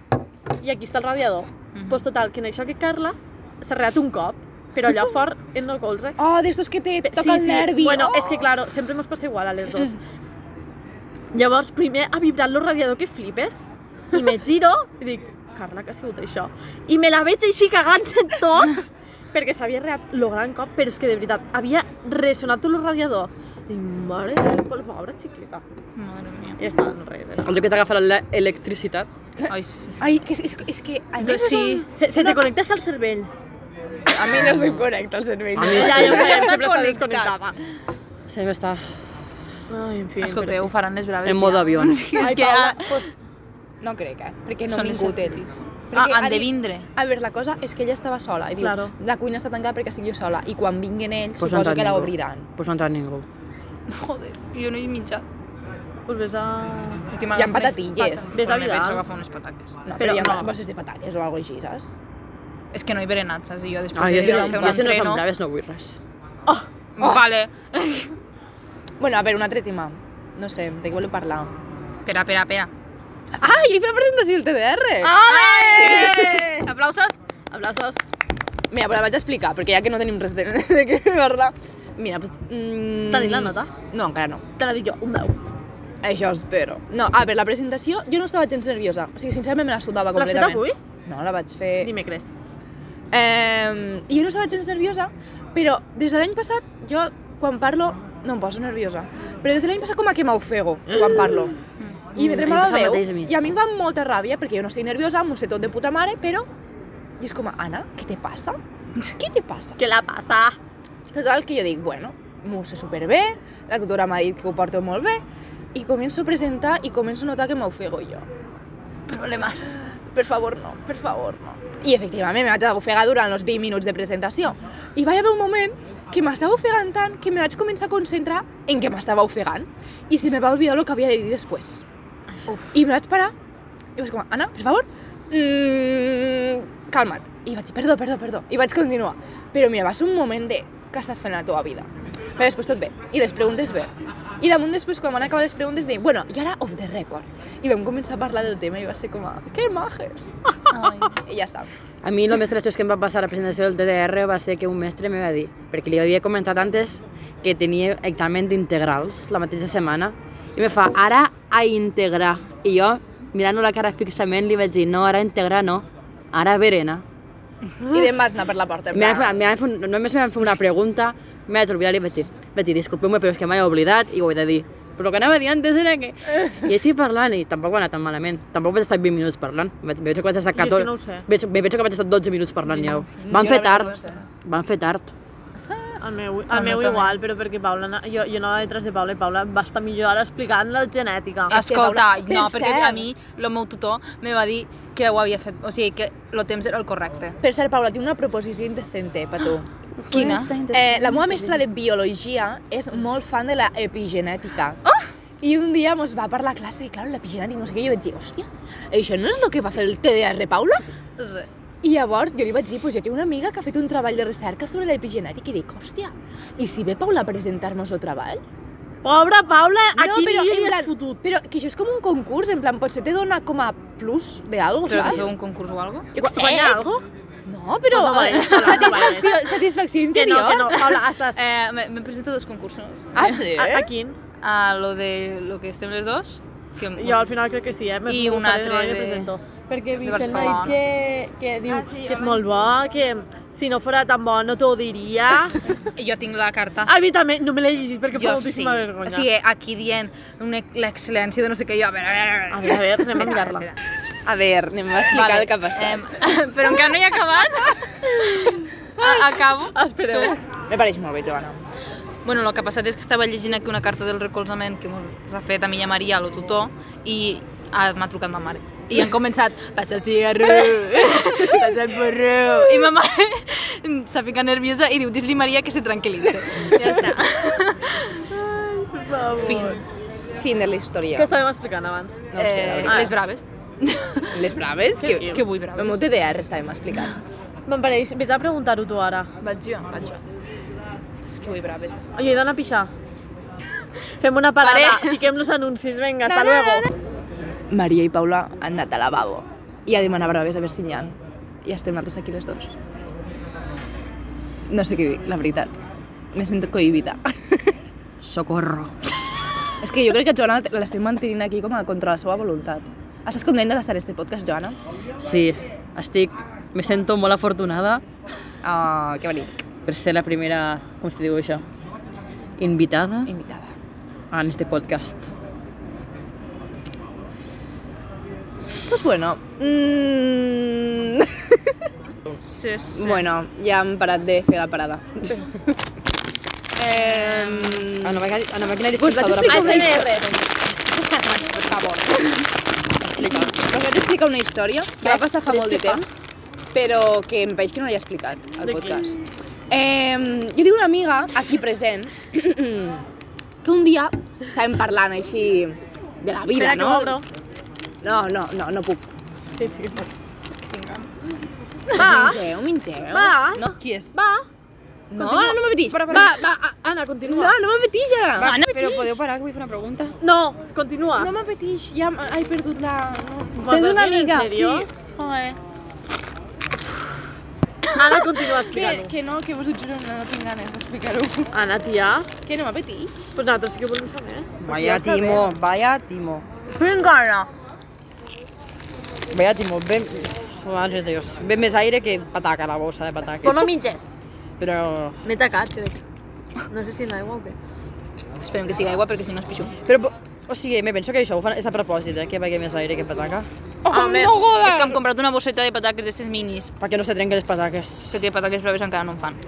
i aquí està el radiador. Doncs Mhm. pues total, que en això que Carla s'ha reat un cop, però allà fort en el colze. Oh, d'estos que te toca el nervi. Bueno, oh. és que claro, sempre mos passa igual a les dos. Llavors, primer ha vibrat el radiador que flipes i me giro i dic, Carla, que ha sigut això? I me la veig així cagant-se en tot perquè s'havia reat el gran cop, però és que de veritat, havia resonat el radiador. I dic, mare de Déu, pues, pobra xiqueta. Madre mía. I ja està, no res. Era. El lloc que t'agafa l'electricitat. Ai, sí. Ai, que és, és, és que... A mi, Doncs sí. Se, se te connectes al cervell. a mi no se'm connecta el cervell. Ja, ja ho sabem, sempre està connectat. desconnectada. Sí, m'està Ai, en fi, Escolteu, però faran les braves. en modo ja. avión. Sí, és que ara pues, no crec, eh? Perquè no ha són les vingut ell. típics. Ah, Perquè han ha de dit- vindre. A veure, la cosa és que ella estava sola i diu, Claro. la cuina està tancada perquè estic jo sola i quan vinguin ells Pues suposo no entra que la ningú. obriran. Pues no ha entrat ningú. Joder, jo no he mitjat. sí. Pues ves a... Aquí Hi ha patatilles. Ves a Però me Vidal. penso agafar unes patates. No, Però però, però hi ha no. no. bosses de patates o alguna cosa així, saps? És que no he berenat, saps? I jo després Ah, ah, jo, de fer jo, jo, un si no entreno... som braves no vull res. Vale. Bueno, a veure, un altre tema. No sé, de què voleu parlar? Espera, espera, espera. Ah, jo he fet la presentació del TDR! Ai! Aplausos. Aplausos. Mira, però la vaig explicar, perquè ja que no tenim res de, de què parlar... Mira, doncs... Mm... T'ha dit la nota? No, encara no. Te la dic jo, un 10. Això espero. No, a veure, la presentació, jo no estava gens nerviosa. O sigui, sincerament me la sudava L'has fet completament. avui? No, la vaig fer... Dimecres. Eh, jo no estava gens nerviosa, però des de l'any passat jo, quan parlo, no em poso nerviosa. Però des de l'any passat com a que m'ofego quan parlo. Mm. I me tremola Em la passa veu. el mateix a mi. I a mi em va molta ràbia, perquè jo no estic nerviosa, m'ho sé tot de puta mare, però... I és com, Anna, què te passa? Què te passa? Què la passa? Total, que jo dic, bueno, m'ho sé superbé, la tutora m'ha dit que ho porto molt bé, i començo a presentar i començo a notar que m'ofego jo. Problemes. Per favor, no, per favor, no. I efectivament me vaig ofegar durant els 20 minuts de presentació. I va haver un moment que m'estava ofegant tant que me vaig començar a concentrar en que m'estava ofegant i se me va olvidar el que havia de dir després. Uf. I me vaig parar i vaig com, Anna, per favor, mm, calma't. I vaig dir, perdó, perdó, perdó. I vaig continuar. Però mira, va ser un moment de què estàs fent a la teva vida. Però després tot bé. I les preguntes bé. I damunt després, quan van acabar les preguntes, deia, bueno, i ara off the record. I vam començar a parlar del tema i va ser com a, que majes. Ai. I ja està. A mi el més graciós que em va passar a la presentació del TDR va ser que un mestre me va dir, perquè li havia comentat antes que tenia examen d'integrals la mateixa setmana, i me fa, ara a integrar. I jo, mirant la cara fixament, li vaig dir, no, ara a integrar no, ara a berenar. I demà vas anar per la porta. en Me plan, van, me van fer, un- només me van fer una pregunta, me vaig oblidar i vaig dir, vaig dir disculpeu-me, però és que m'he oblidat i ho he de dir. Però el que anava a dir antes era que... I així parlant, i tampoc va anar tan malament. Tampoc vaig estar 20 minuts parlant. Vaig, me veig que vaig estar Jo és que 14... no ho sé. Veig, me veig que vaig estar 12 minuts parlant, ja. sé. Van Jo fer la veritat tard. no ho sé. Van fer tard. El meu, el El meu meu també. igual, però perquè Paula, na- jo, jo anava detrás de Paula i Paula va estar millor ara explicant la genètica. És que, Escolta, Paula, no, per perquè cert- a mi el meu tutor me va dir que ho havia fet, o sigui, que el temps era el correcte. Per cert, Paula, tinc una proposició indecente per tu. Quina? Eh, la meva mestra de biologia és molt fan de la epigenètica. Oh! I un dia mos va parlar a classe de, claro, l'epigenètica, no sé què, i jo vaig dir, hòstia, això no és el que va fer el TDR Paula? Res. I llavors jo li vaig dir, pues jo tinc una amiga que ha fet un treball de recerca sobre l'epigenètica i dic, hòstia, i si ve Paula a presentar-nos el treball? Pobra Paula, a no, quin però, dia en li plan, has fotut? Però que això és com un concurs, en plan, potser te dona com a plus de algo, Però que saps? feu un concurs o alguna Jo què sé. Guanyar alguna No, però No, no eh, vales, Paula, no satisfacció, satisfacció Que interior. no, que no, Paula, estàs... Eh, Eh, me, me presento a dos concursos. Ah, sí? a, a quin? A lo de lo que estem les dos. Que Jo al final crec que sí, eh? Me I un faré, no altre li de- presento. Perquè de Vicent m'ha Barcelona. dit que, que diu Ah, sí, que és home. molt bo, que si no fora tan bo no t'ho diria. Ah! jo tinc la carta. A mi també, no me l'he llegit perquè Ah! fa jo moltíssima vergonya. O sigui, aquí dient una- l'excel·lència de no sé què, jo, a veure, a veure, a A veure. veure, a veure, anem a mirar-la. A veure, anem a explicar vale. el que ha passat. Em, però encara no he acabat. A, acabo. Espereu. Me pareix molt bé, Joana. Bueno, el que ha passat és que estava llegint aquí una carta del recolzament que ens ha fet a mi i a Maria, a lo tutor, i ah, m'ha trucat ma mare. I han començat, passa el tigarro, passa el porro. I ma mare s'ha ficat nerviosa i diu, dis-li Maria que se tranquil·litze. Ja està. Fin. Fin de la Què història. estàvem explicant abans? No ho sé, la eh, veritat. les braves. Les braves? Què Que, dius? que vull braves. El meu TDR estàvem explicant. Me'n pareix, vés a preguntar-ho tu ara. Vaig jo, vaig jo. És que vull braves. Jo he d'anar a pixar. Fem una parada, Vale. fiquem los anuncis, vinga, hasta luego. Maria i Paula han anat a lavabo i a demanar braves a Bestinyan. I estem nosaltres aquí les dos. No sé què dir, la veritat. Me sento cohibida. Socorro. És que jo crec que Joana l'estem mantenint aquí com a contra la seva voluntat. Estàs contenta d'estar en este podcast, Joana? Sí, estic... Me sento molt afortunada Ah, que bonic. per ser la primera, com se diu això, invitada Invitada. en este podcast. Pues bueno, mm... Sí, sí. Bueno, ja hem parat de fer la parada. eh... Ah, A la màquina, a la màquina Vosaltres dispensadora... explicar una història. per favor. Explica. Us vaig explicar una història que va passar fa molt de temps, però que em veig que no l'he explicat al De qui? podcast. Eh, jo tinc una amiga aquí present que un dia estàvem parlant així de la vida, Espera que no? m'obro. No, no, no, no puc. Sí, sí que pots. Ah. Va, Mingeu, mingeu. Va. No, Qui és? va, no, no, no m'apeteix. va, va, a- Anna, No, continua. no m'apeteix ara. Va, no, però podeu parar, que vull fer una pregunta. No, continua. No m'apeteix, ja m- he perdut la... No. M'ho Tens una estàs dient, en amiga, sí. sèrio? Anna, continua explicant-ho. que no, que vos ho juro, no, no tinc ganes d'explicar-ho. Anna, tia, Que no m'apeteix. pues nosaltres sí que volem saber. Vaya Timo, vaya Timo. Vinga, Vaya Timo, ve... Madre de Dios. Ve més aire que pataca, la bossa de pataques. no mitges. Però... M'he tacat, crec. No sé si en l'aigua o què. Esperem que sigui aigua perquè si no es pixo. Però, po- o sigui, me penso que això ho fan és a propòsit, eh? Que vagi més aire que pataca. Home, és que hem comprat una bosseta de pataques d'aquestes minis, Perquè no se trenquen les pataques. perquè pataques braves encara no en fan.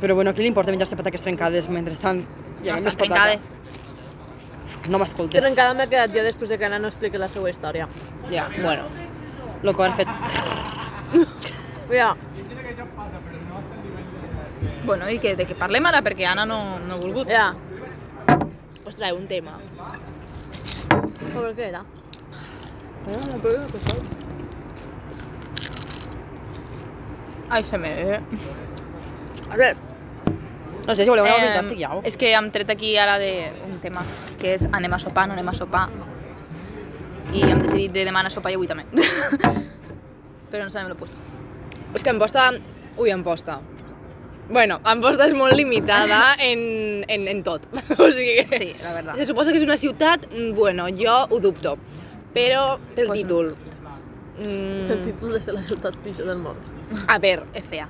Però bueno, a qui li importa menjar-se pataques trencades mentrestant hi Ja ha estan més trencades. pataques? No m'escoltes. Però encara m'he quedat jo després de que Anna no expliqui la seva història. Ja, bueno. Lo que ha fet. Ja. Bueno, i que, de què parlem ara? Perquè Anna no, no ha volgut. Ja. Os trae un tema. Però què era? Ai, se me... Eh? No sé, si voleu anar al Em, fantàstic ja. ho- és que hem tret aquí ara de un tema, que és anem a sopar, no anem a sopar. I hem decidit de demanar sopar i avui també. Però no sabem el puesto. És que en posta... Ui, en posta. Bueno, en posta és molt limitada en, en, en tot. o sigui que... Sí, la verdad. Se suposa que és una ciutat... mm, Bueno, jo ho dubto. Però té el Pues no. títol. Mm. El Mm, títol de ser la ciutat pitjor del món. a veure, És fea.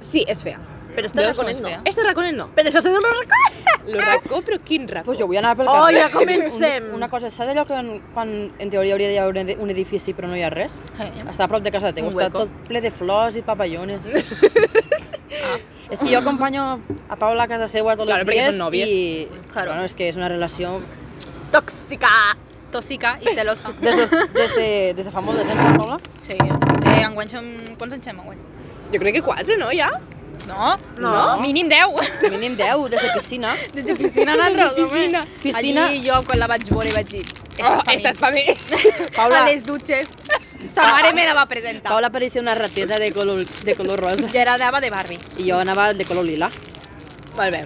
sí, és fea. Però està Veus com reconent, és no? fea? Este raconet no. Però això se dona reconent! Lo racó, però quin Ah, racó? Pues jo vull anar pel Oh, carrer. ja comencem. Un- Una cosa, saps allò que en- quan en teoria hauria d'hi haver un edi- un edifici però no hi ha res? Eh. Està a prop de casa teva, Un està hueco. tot ple de flors i papallones. És que jo acompanyo a Paula a casa seva tots Claro, els perquè dies són nòvies. i... Claro. Bueno, és que és una relació Tòxica! Tòxica i celosa. des de, des de, des de fa molt de temps, eh, Paula. Sí. Eh, enguany som... Quants anys fem enguany? Jo crec que quatre, no, ja? No? No. Mínim 10. Mínim 10, des de piscina. Des de piscina nosaltres, Piscina. home. Piscina. Allí jo, quan la vaig veure, vaig dir... Oh, Ah, esta Esta és és pa pa mi. mi. Paula. A les dutxes. Sa mare me la va presentar. Paula pareixia una rateta de color, de color rosa Jo era anava de Barbie. i jo anava de color lila. Molt bé.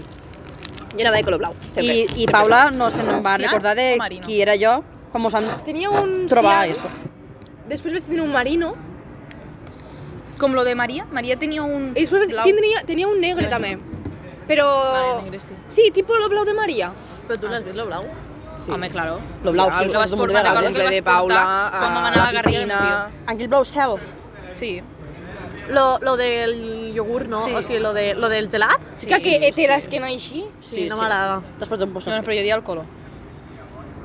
Jo anava de color blau, sempre. I, i Paula no se n'en va Cian recordar o de Marino? qui era jo, com us han Tenia un... trobat Cian. això. Després vaig tenir un marino. Com lo de Maria. Maria tenia un I després blau. vaig... tenia, tenia un negre, també. Però... Vale, negre, sí. Sí, tipo lo blau de Maria. Però tu l'has vist, lo blau? Sí. Home, claro. Lo blau, sí, el vas és un munt de portar, vegades. recordo que el de vas Paula portar quan vam a anar a la la Garriga de piscina. Aquell blau cel. Montjuïc. Sí. Lo, lo del iogurt, no? Sí. O sigui, lo, de, lo del gelat? Sí, que, que té l'esquena així. Sí, no m'agrada. Després d'un No, posat. no, però jo dia el color.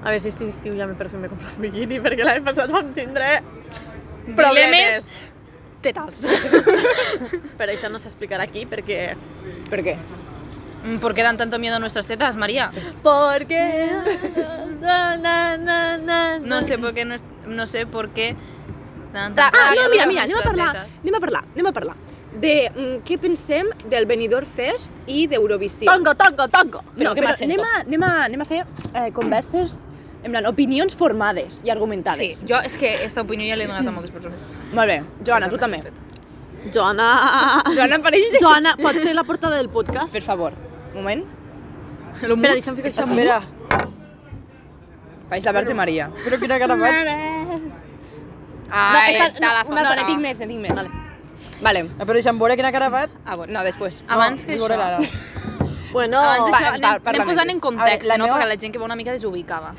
A veure si este estiu ja m'he per fer me compro un biquini, perquè l'any passat vam tindre Problemes problemes. tetals. Però això no s'explicarà aquí, perquè... Per què? Mm, ¿Por qué dan tanto miedo nuestras tetas, María? Perquè... na, na, na, No sé por qué no, es- no sé por qué dan Ah, tanto miedo no, mira, mira, anem a nuestras parlar, tetas. anem a parlar, anem a parlar de mm, què pensem del Benidorm Fest i d'Eurovisió. Tongo, tongo, tongo! No, que però m'assento. anem a, anem a, anem a fer eh, converses, en plan, opinions formades i Sí, argumentades. yo es que esta opinión ya le he donado a moltes persones. Molt bé, Joana, tu també. Joana... Joana, apareix... Joana, pot ser la porta del podcast? Per favor, un moment. Espera, deixa'm ficar això en mut. País la Verge Maria. Però quina cara faig. Ay, esta- está la no, foto. no, tinc més, en tinc més. Vale. vale. Ah, Però deixa'm veure quina cara faig. Ah, bueno, no, després. Abans que vull això, veure l'ara. abans Bueno, Va, d'això, va, anem, anem parla posant més. en context, A veure, la no? meva- Perquè la gent que va una mica desubicada.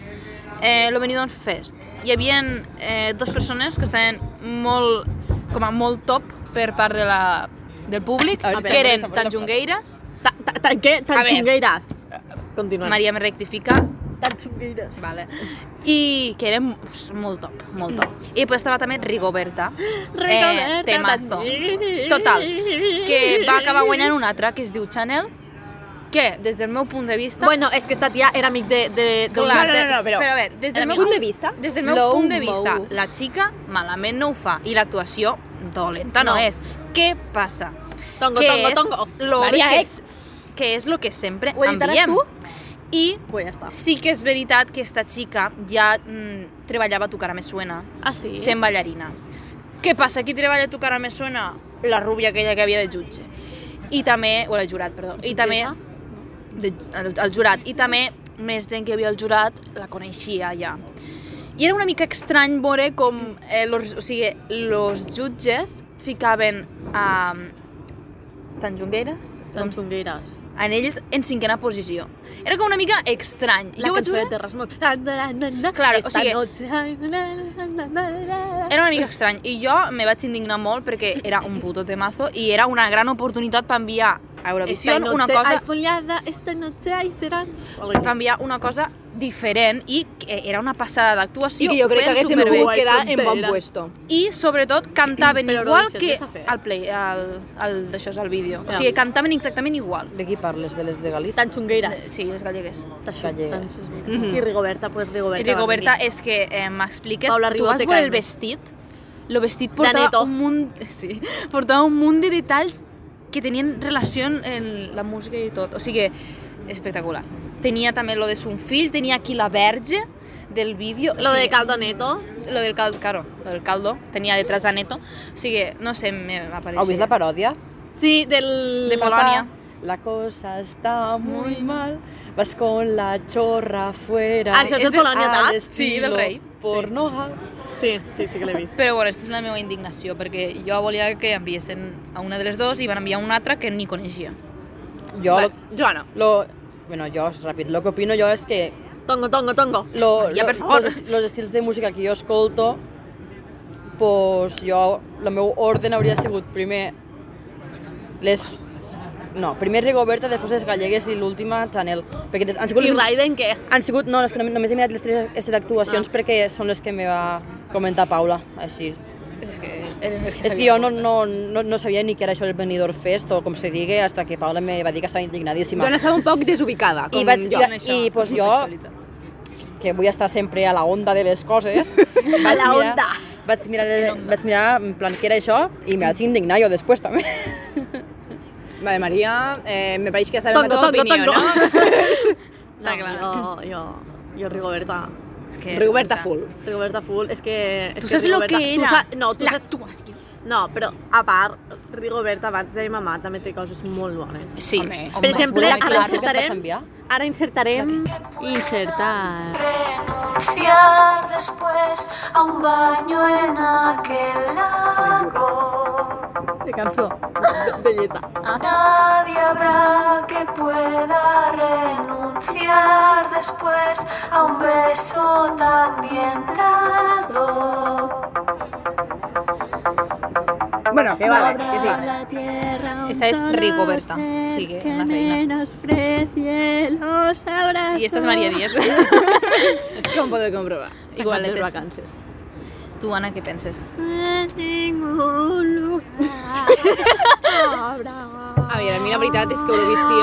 Eh, lo Benidorm Fest. Hi havia eh, dos persones que estaven molt, com a molt top per part de la, del públic, A veure, que eren sembla- tan jungueires, Ta- ta- ta- què? A Tan ver. Uh, xungueiràs. Continuem. Maria me rectifica, Tan xungueiràs. Vale. I que era pues, molt top, molt top. I després estava també Rigoberta. Eh, Rigoberta, temazo. sí. Total, que va acabar guanyant un altre, que es diu Chanel, que des del meu punt de vista... Bueno, és que esta tia era amic de... de, de clar, No, no, no, no, però- però a veure, des del Era meu amic. Punt de vista, Des del meu slow punt de vista, mo. la xica malament no ho fa i l'actuació dolenta no, No. és. Què passa? Tongo, que tongo, és tongo. Lo Maria, que eh? és, que és lo que sempre Ho editaràs enviem. tu? I Pues ja està. Sí que és veritat que esta xica ja mm, treballava Tu cara me suena, Ah, sí? sent ballarina. Què passa? Qui treballa Tu cara me suena? La rubia aquella que havia de jutge. I també, o la jurat, perdó. I també, de, el, el jurat. I també més gent que havia al jurat la coneixia ja. I era una mica estrany veure com eh, los, o sigui, los jutges ficaven a... Tan Jungueras? Tan xungueiràs. En ells en cinquena posició. Era com una mica estrany. La jo vaig cançó veure... de Terrasmoc. Na, na, na, na, Claro, o esta sigui- noche, ay, na, na, na, na, na. Era una mica estrany i jo me vaig indignar molt perquè era un puto temazo i era una gran oportunitat per enviar a Eurovisió Esta noche una cosa hay follada, esta noche hay serán... per enviar una cosa diferent i que era una passada d'actuació. I que jo ho crec que feien haguéssim superbé. pogut quedar en bon Frontera. puesto. I sobretot cantaven Però igual Eurovisió, que què s'ha fet? el play, el, el d'això és el vídeo. O sigui, cantaven exactament igual. Eh, De qui parles? De les de Galícia? Tan xungueiràs. Sí, les gallegues. Gallegues. I Rigoberta, pues Rigoberta. I Rigoberta, va venir. és que eh, m'expliques, Paula tu Rigo vas te veure el calmes. vestit, el vestit portava Neto. un, munt, sí, portava un munt de detalls que tenien relació en la música i tot. O sigui, espectacular. Tenia també lo de son fill, tenia aquí la verge del vídeo. Lo o sigui, de Caldo Neto. Lo del caldo, claro, lo del caldo, tenia detrás a Neto. O sigui, no sé, me va Heu vist la paròdia? Sí, del... De Polònia. La cosa está muy mal, vas con la chorra fuera. Ah, això és de És de- Polònia, al tal? estilo Sí, del rei. Porno. Sí, sí, sí que l'he vist. Però bueno, aquesta és la meva indignació, perquè jo volia que enviessin a una de les dues i van enviar una altra que ni coneixia. Jo, Vale, lo, Joana. lo, bueno, jo, és ràpid, lo que opino jo és que Tongo, tongo, tongo. lo, Ja, lo- per favor. Los, los estils de música que jo escolto, pues jo, el meu ordre hauria sigut primer les... No, primer Rigoberta, després les gallegues i l'última Chanel. Perquè han sigut I les- Raiden, què? Han sigut, no, les que nom- només he mirat les tres, les tres actuacions perquè són les que me va comentar Paula, així. És eh, que, Eren les que és que jo no, no, no, no sabia ni què era això del Benidorm Fest o com se digui, hasta que Paula me va dir que estava indignadíssima. Joan estava un poc desubicada, com I vaig, jo. i, va- i pues, jo, que vull estar sempre a la onda de les coses, a la onda. Vaig mirar, vaig mirar en plan què era això i me vaig indignar jo després també. Vale, Maria, eh, me pareix que sabem Tango, la teva opinió, tango, tango. no? Està clar. No, jo, jo, jo Rigoberta. És que, Rigoberta full. Rigoberta Full, és que... És Tu que saps lo Rigoberta- que tu era sa- no, tu saps... l'actuació. No, però a part, Rigoberta abans de mamà també té coses molt bones. Sí. Home. per exemple, voler ara aclarar el que em insertarem... vaig enviar? Ara insertarem... Insertar... renunciar después a un baño en aquel lago. De cançó. De lleta. Nadie habrá que pueda renunciar después a un beso también dado. Bueno, que vale, que sí. Esta es Rigoberta. Sigue, una reina. Y esta es María Díaz. Com podeu comprovar. Igualetes. vacances. Tú, Ana, ¿qué penses? A veure, a mi la veritat és que Ah. Eurovisió...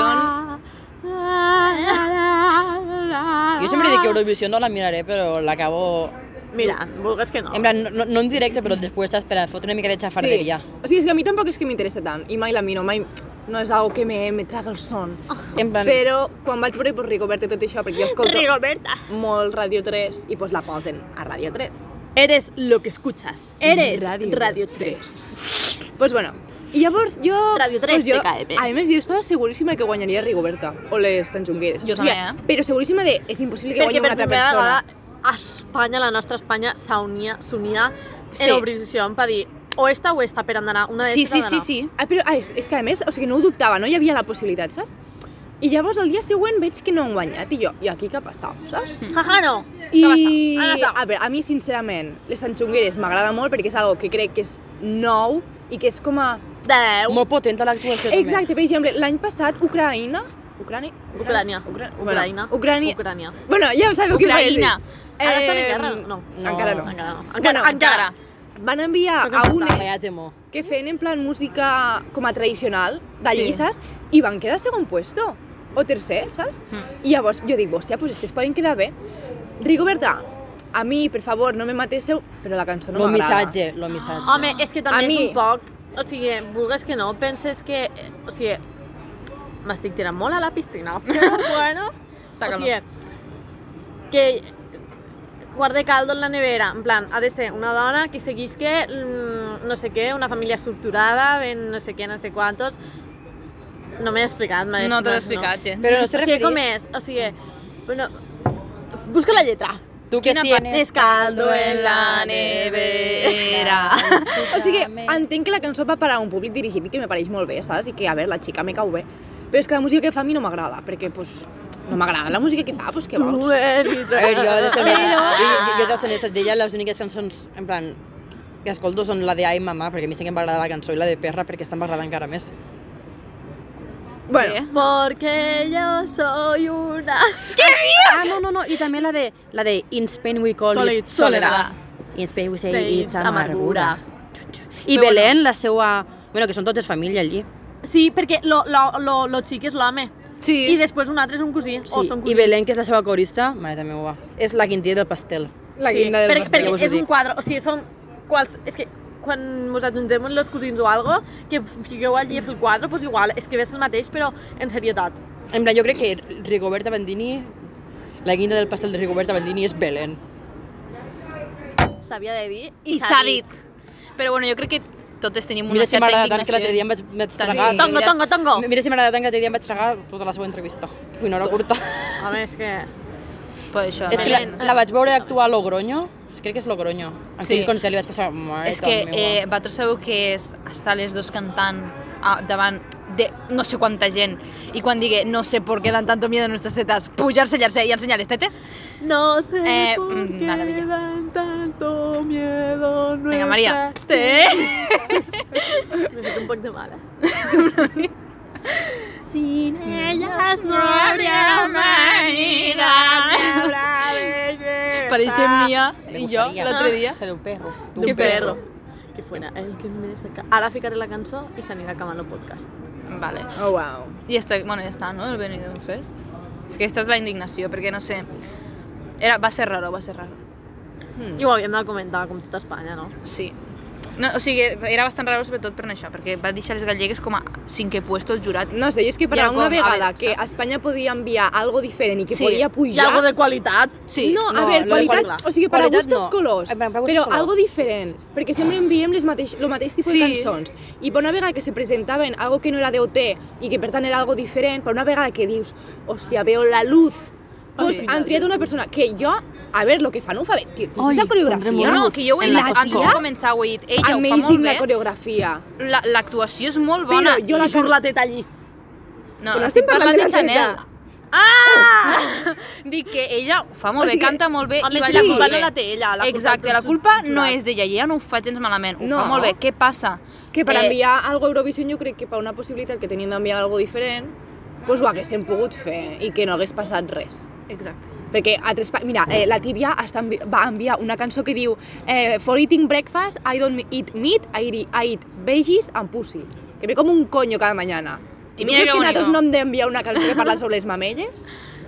Jo sempre dic que Eurovisió no la miraré, però l'acabo... Mira, vulgues que no. En plan, no, no en directe, però després estàs per a fotre una mica de xafarderia. O sigui, és que a mi tampoc és que m'interessa tant. I mai la miro, mai... No és algo que me, me traga el son. Ah. En plan, Però quan vaig veure per Rigoberta i tot això, perquè jo escolto Rigoberta. molt Radio 3 i pues la posen a Radio 3. Eres lo que escuchas. Eres Radio Radio, 3. Pues bueno, i llavors jo... Radio pues 3 jo, TKM. A més, jo estava seguríssima que guanyaria Rigoberta o les Tanjungueres. Jo o sigui, també, eh? Però seguríssima de és impossible que Perquè guanyi per una altra primera persona. vegada a Espanya, la nostra Espanya, s'unia s'unia Sí. en Eurovisió per dir o esta o esta per anar una Sí, d'estes sí, ha sí, d'anar. sí. Ah, però ah, és, és que a més, o sigui, no ho dubtava, no hi havia la possibilitat, saps? I llavors el dia següent veig que no han guanyat i jo, i aquí què ha passat, saps? Jaja, no. I, Mm, Ha passat. a veure, a mi sincerament, les tanxongueres m'agrada molt perquè és algo que crec que és nou i que és com a... Deu. molt potent l'actuació també. Exacte, per exemple, l'any passat, Ucraïna... Ucrània? Ucrània. Ucra... Ucrània. Bueno, Ucrània. Ucrània. Bueno, ja sabeu què vaig dir. Ucraïna. Ara estan en guerra? No. no. Em- Encara no. Encara no. Bueno, Encara, encara. Van enviar Toca a prestar, Vaya unes temor. que feien en plan música com a tradicional, de Sí. llises, i van quedar segon puesto, o tercer, saps? Mm. I llavors jo dic, hòstia, pues és que es poden quedar bé. Rigoberta, a mi, per favor, no me matésseu, però la cançó no lo m'agrada. missatge, lo missatge. Home, és que també A mi- és un poc... O sigui, vulgues que no, penses que... eh, O sigui, m'estic tirant molt a la piscina, però bueno... o Sácalo. sigui, que guarde caldo en la nevera, en plan, ha de ser una dona que seguís que, mm, no sé què, una família estructurada, ben no sé què, no sé quantos... No m'he explicat, m'he No te l'he explicat, explicat gens. Però no O te sigui, com referís... és? O sigui, bueno, busca la lletra. Tu que Quina sí, pa- en Més caldo en la nevera. O sigui, entenc que la cançó va per a un públic dirigit i que me pareix molt bé, saps? I que, a veure, la xica me cau bé. Però és que la música que fa a mi no m'agrada, perquè, pues, no m'agrada la música que fa, pues, què vols? A veure, jo de ser honesta, jo, jo, jo de ser honesta, d'ella les úniques cançons, en plan, que escolto són la de Ai Mamà, perquè a mi sí que em va agradar la cançó, i la de Perra, perquè està m'agrada encara més. Bueno, Porque yo soy una... Ah, no, no, no, i també la de, la de In Spain we call, Call it it soledad. soledad. In Spain we say Say it's it's amargura. amargura. I Però Belén, la seua... Bueno, que són totes família allí. Sí, perquè lo, lo, lo, lo xic és l'home. Sí. I després un altre és un cosí, sí. o Oh, són I cosins. Belén, que és la seva La corista, mare de meva, és la quintia del pastel. la guinda del perquè, pastel. perquè és un quadre, o sigui, són quals... És que quan us ajuntem amb els cosins o algo, que fiqueu allí a fer el quadre, doncs igual, és que ves el mateix, però en serietat. En plan, jo crec que Rigoberta Bandini, la quinta del pastel de Rigoberta Bandini és Belén. S'havia de dir I s'ha dit. Però bueno, jo crec que totes tenim una Mira si certa m'agrada tant que indignació. l'altre dia em vaig, vaig tragar. Sí. Tongo, tongo, tongo! Mira si m'agrada tant que l'altre dia em vaig tragar tota la seva entrevista. Fui una hora curta. Home, és que... Pues això, És que la, Belén. la vaig veure actuar a Logroño, crec que és Logroño. Aquell Sí. concert li vaig passar... Mare És que meva. eh, vosaltres sabeu que és estar les dos cantant a, davant de no sé quanta gent i quan digue no sé por qué dan tanto miedo nuestras tetas, pujar-se, llarse i ensenyar les tetes? No sé Eh, por mm, qué maravilla. dan tanto miedo Vinga, Maria. nuestras- Té. M'he fet un poc de mala. Sin ellas no habría humanidad, no habrá belleza. Pareixen Mia i jo Gustaría. l'altre dia. Ser un perro. Qué perro. que fuera el que me saca. Ara ficaré la cançó i s'anirà acabant el podcast. Vale. Oh, wow. Y está, bueno, ya está, ¿no? El Benidorm Fest. Es que esta es la indignación, porque no sé. Era, va a ser raro, va a ser raro. Mm. I ho havíem de comentar, com tota Espanya, no? Sí. No, o sigui, era bastant raro sobretot per anar això, perquè va deixar les gallegues com a cinquè puesto el jurat. No sé, jo és que per I a ara una com? A vegada veure, que saps? Espanya podia enviar algo diferent i que Sí. podia Hi ha pujar... algo de qualitat. Sí. no, a no, veure, no de qualitat, qualitat. o sigui, per a Qualitat gustos no. colors, Eh, per a gustos però colors. algo diferent, perquè sempre enviem el mateix, lo mateix tipus de Sí. cançons. I per una vegada que se presentaven algo que no era DOT i que per tant era algo diferent, per una vegada que dius, hòstia, veo la luz, pues Sí. han triat una persona que jo, a veure, lo que fan ho fa bé, tio, tu Ai, saps la coreografia? No, no, que jo ho he La dit abans de tia, començar, ho he dit. Ella ho fa amazing molt la bé, coreografia. la- l'actuació és molt Però bona. jo la I surt la teta allí. No, Però estic estem parlant parlant de de la Chanel. teta. Ah! Dic que ella ho fa molt O bé, sigui, canta molt bé a i més, balla la molt culpa bé. no la té ella, la culpa Exacte, és la del culpa jurat. no és d'ella, ella no ho fa gens malament, ho No. fa molt bé. Què passa? Que per Eh, eh... enviar algo a Eurovision jo crec que per una possibilitat que tenien d'enviar algo diferent, doncs ho haguessin pogut fer i que no hagués passat res. Exacte. Perquè altres... pa- Mira, eh, la tibia està envi... va enviar una cançó que diu eh, For eating breakfast, I don't eat meat, I eat, I eat veggies and pussy. Que ve com un coño cada mañana. I I mira mira que, que que nosaltres bonico. no hem d'enviar una cançó que parla sobre les mamelles?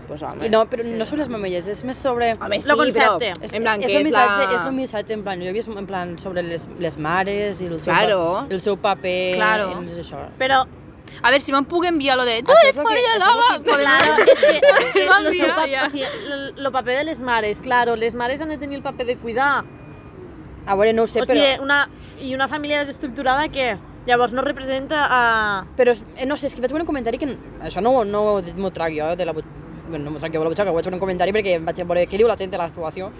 Pues home. I no, però no sobre les mamelles, és més sobre... Home, sí, Lo concepte. però... En plan, és, que el és, missatge, és la... el missatge, en plan, jo he vist en plan sobre les, les mares i el seu, Claro. pa, el seu paper Claro. en això. Però, A veure, si me'n puc enviar lo de tu Això és ets lo que- fora de això és lo lava, que- podem... claro, és que, és que Van lo seu mirar, pap, ja. o sigui, el, el paper de les mares, claro, les mares han de tenir el paper de cuidar. A veure, no ho sé, o sigui, però... una, i una família desestructurada que llavors no representa a... Però, és- eh, no sé, és que vaig veure un comentari que... Això no, no m'ho trac jo de la but... Bueno, no m'ho trac jo de la butxaca, vaig veure un comentari perquè vaig veure què diu la gent de l'actuació.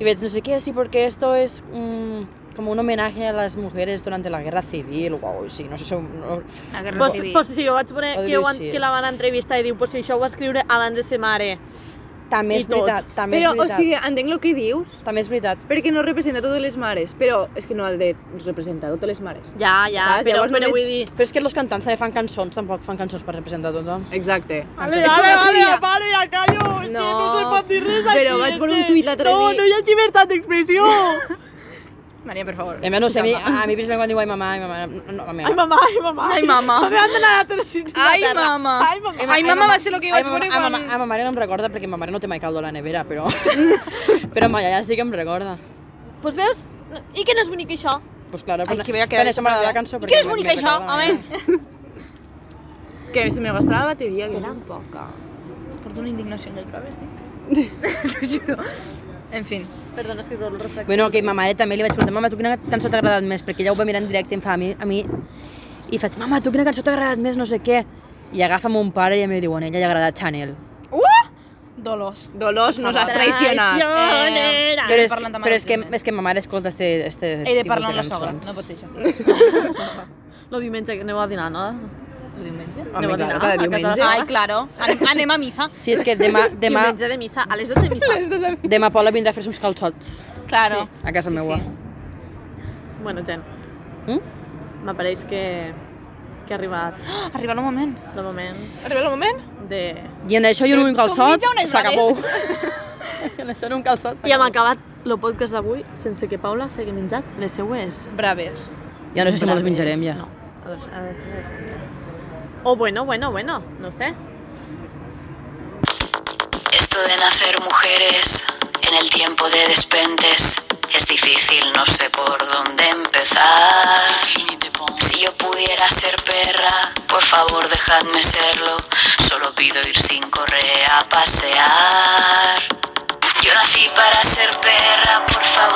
I veig, no sé què, sí, perquè esto es un, como un homenaje a las mujeres durante la guerra civil o algo així, no sé si... ho- No... La guerra Pues, civil. pues, sí, jo vaig veure Ho que, ho, han- diu així. que la van entrevistar i diu pues, això ho va escriure abans de ser mare. I També és tot. veritat, també Però, és o veritat. sigui, entenc el que dius, També és veritat. perquè no representa totes les mares, però és que no ha de representar totes les mares. Ja, ja, Saps? però, Llavors però només- vull dir... Però és que els cantants també fan cançons, tampoc fan cançons per representar tothom. Exacte. Ale, És com ale, l'altre ale, dia- pare, ja callo, és No, que no se pot dir res aquí. però vaig és veure un que tuit l'altre No, dia. no hi ha llibertat d'expressió. Maria, per favor. I a mi, no ho sé, a mi, a mi precisament quan diu ai mamà, ai mamà, no, no, a mi- Ai, mamà, ai, mamà. Ai, mamà. M'he d'anar a tercera. Ai, mama. Ai, mamà. Ai, mama va ser el que Ai, vaig ma, veure a, ma, quan... a ma mare no em recorda perquè ma mare no té mai caldo a la nevera, però... però ma iaia sí que em recorda. Pues veus? I que no és bonic això? Pues claro, Ai, que bé, que per ara això m'agrada la després, eh? cançó. I perquè que és me- bonic me això, recorda, home. eh? Que se me gastaba la batería, que era poca. Porto una indignació en les proves, tio. T'ho juro. En fin. Perdona, és que el reflex. Bueno, que ma mare també li vaig preguntar, mama, tu quina cançó t'ha agradat més? Perquè ella ho va mirar en directe i em fa a mi... A mi I faig, mama, tu quina cançó t'ha agradat més? No sé què. I agafa mon pare i em diu, a ella li ha agradat Chanel. Uh! Dolors. Dolors, nos has traicionat. Eh, Però és, parlant de però és que, malament. és que ma mare escolta este, este He de tipus parlar amb la cançons. sogra, no pot ser això. El diumenge que aneu a dinar, no? El diumenge? Home, Aneu a clar, cada dinar a casa de la diumenge. Sara? Ai, claro. Anem, anem a missa. Sí, és que demà, demà, Diumenge de missa, a les 12 de missa. demà Paula vindrà a fer-se uns calçots Claro. a casa Sí, meua. sí. Bueno, gent, Hm? Mm? m'apareix que, que ha arribat Ah, Arriba el moment. el moment Arriba el moment? de... I en això i en un Com calçot mitja unes s'acabou. en això en un calçot I hem acabat el podcast d'avui sense que Paula s'hagi menjat les seues Braves. Ja no sé si me'ls braves. menjarem ja. No, a les, a les seues. O Oh, bueno, bueno, bueno, no sé. Esto de nacer mujeres en el tiempo de despentes es difícil, no sé por dónde empezar. Si yo pudiera ser perra, por favor dejadme serlo. Solo pido ir sin correa a pasear. Yo nací para ser perra, por favor.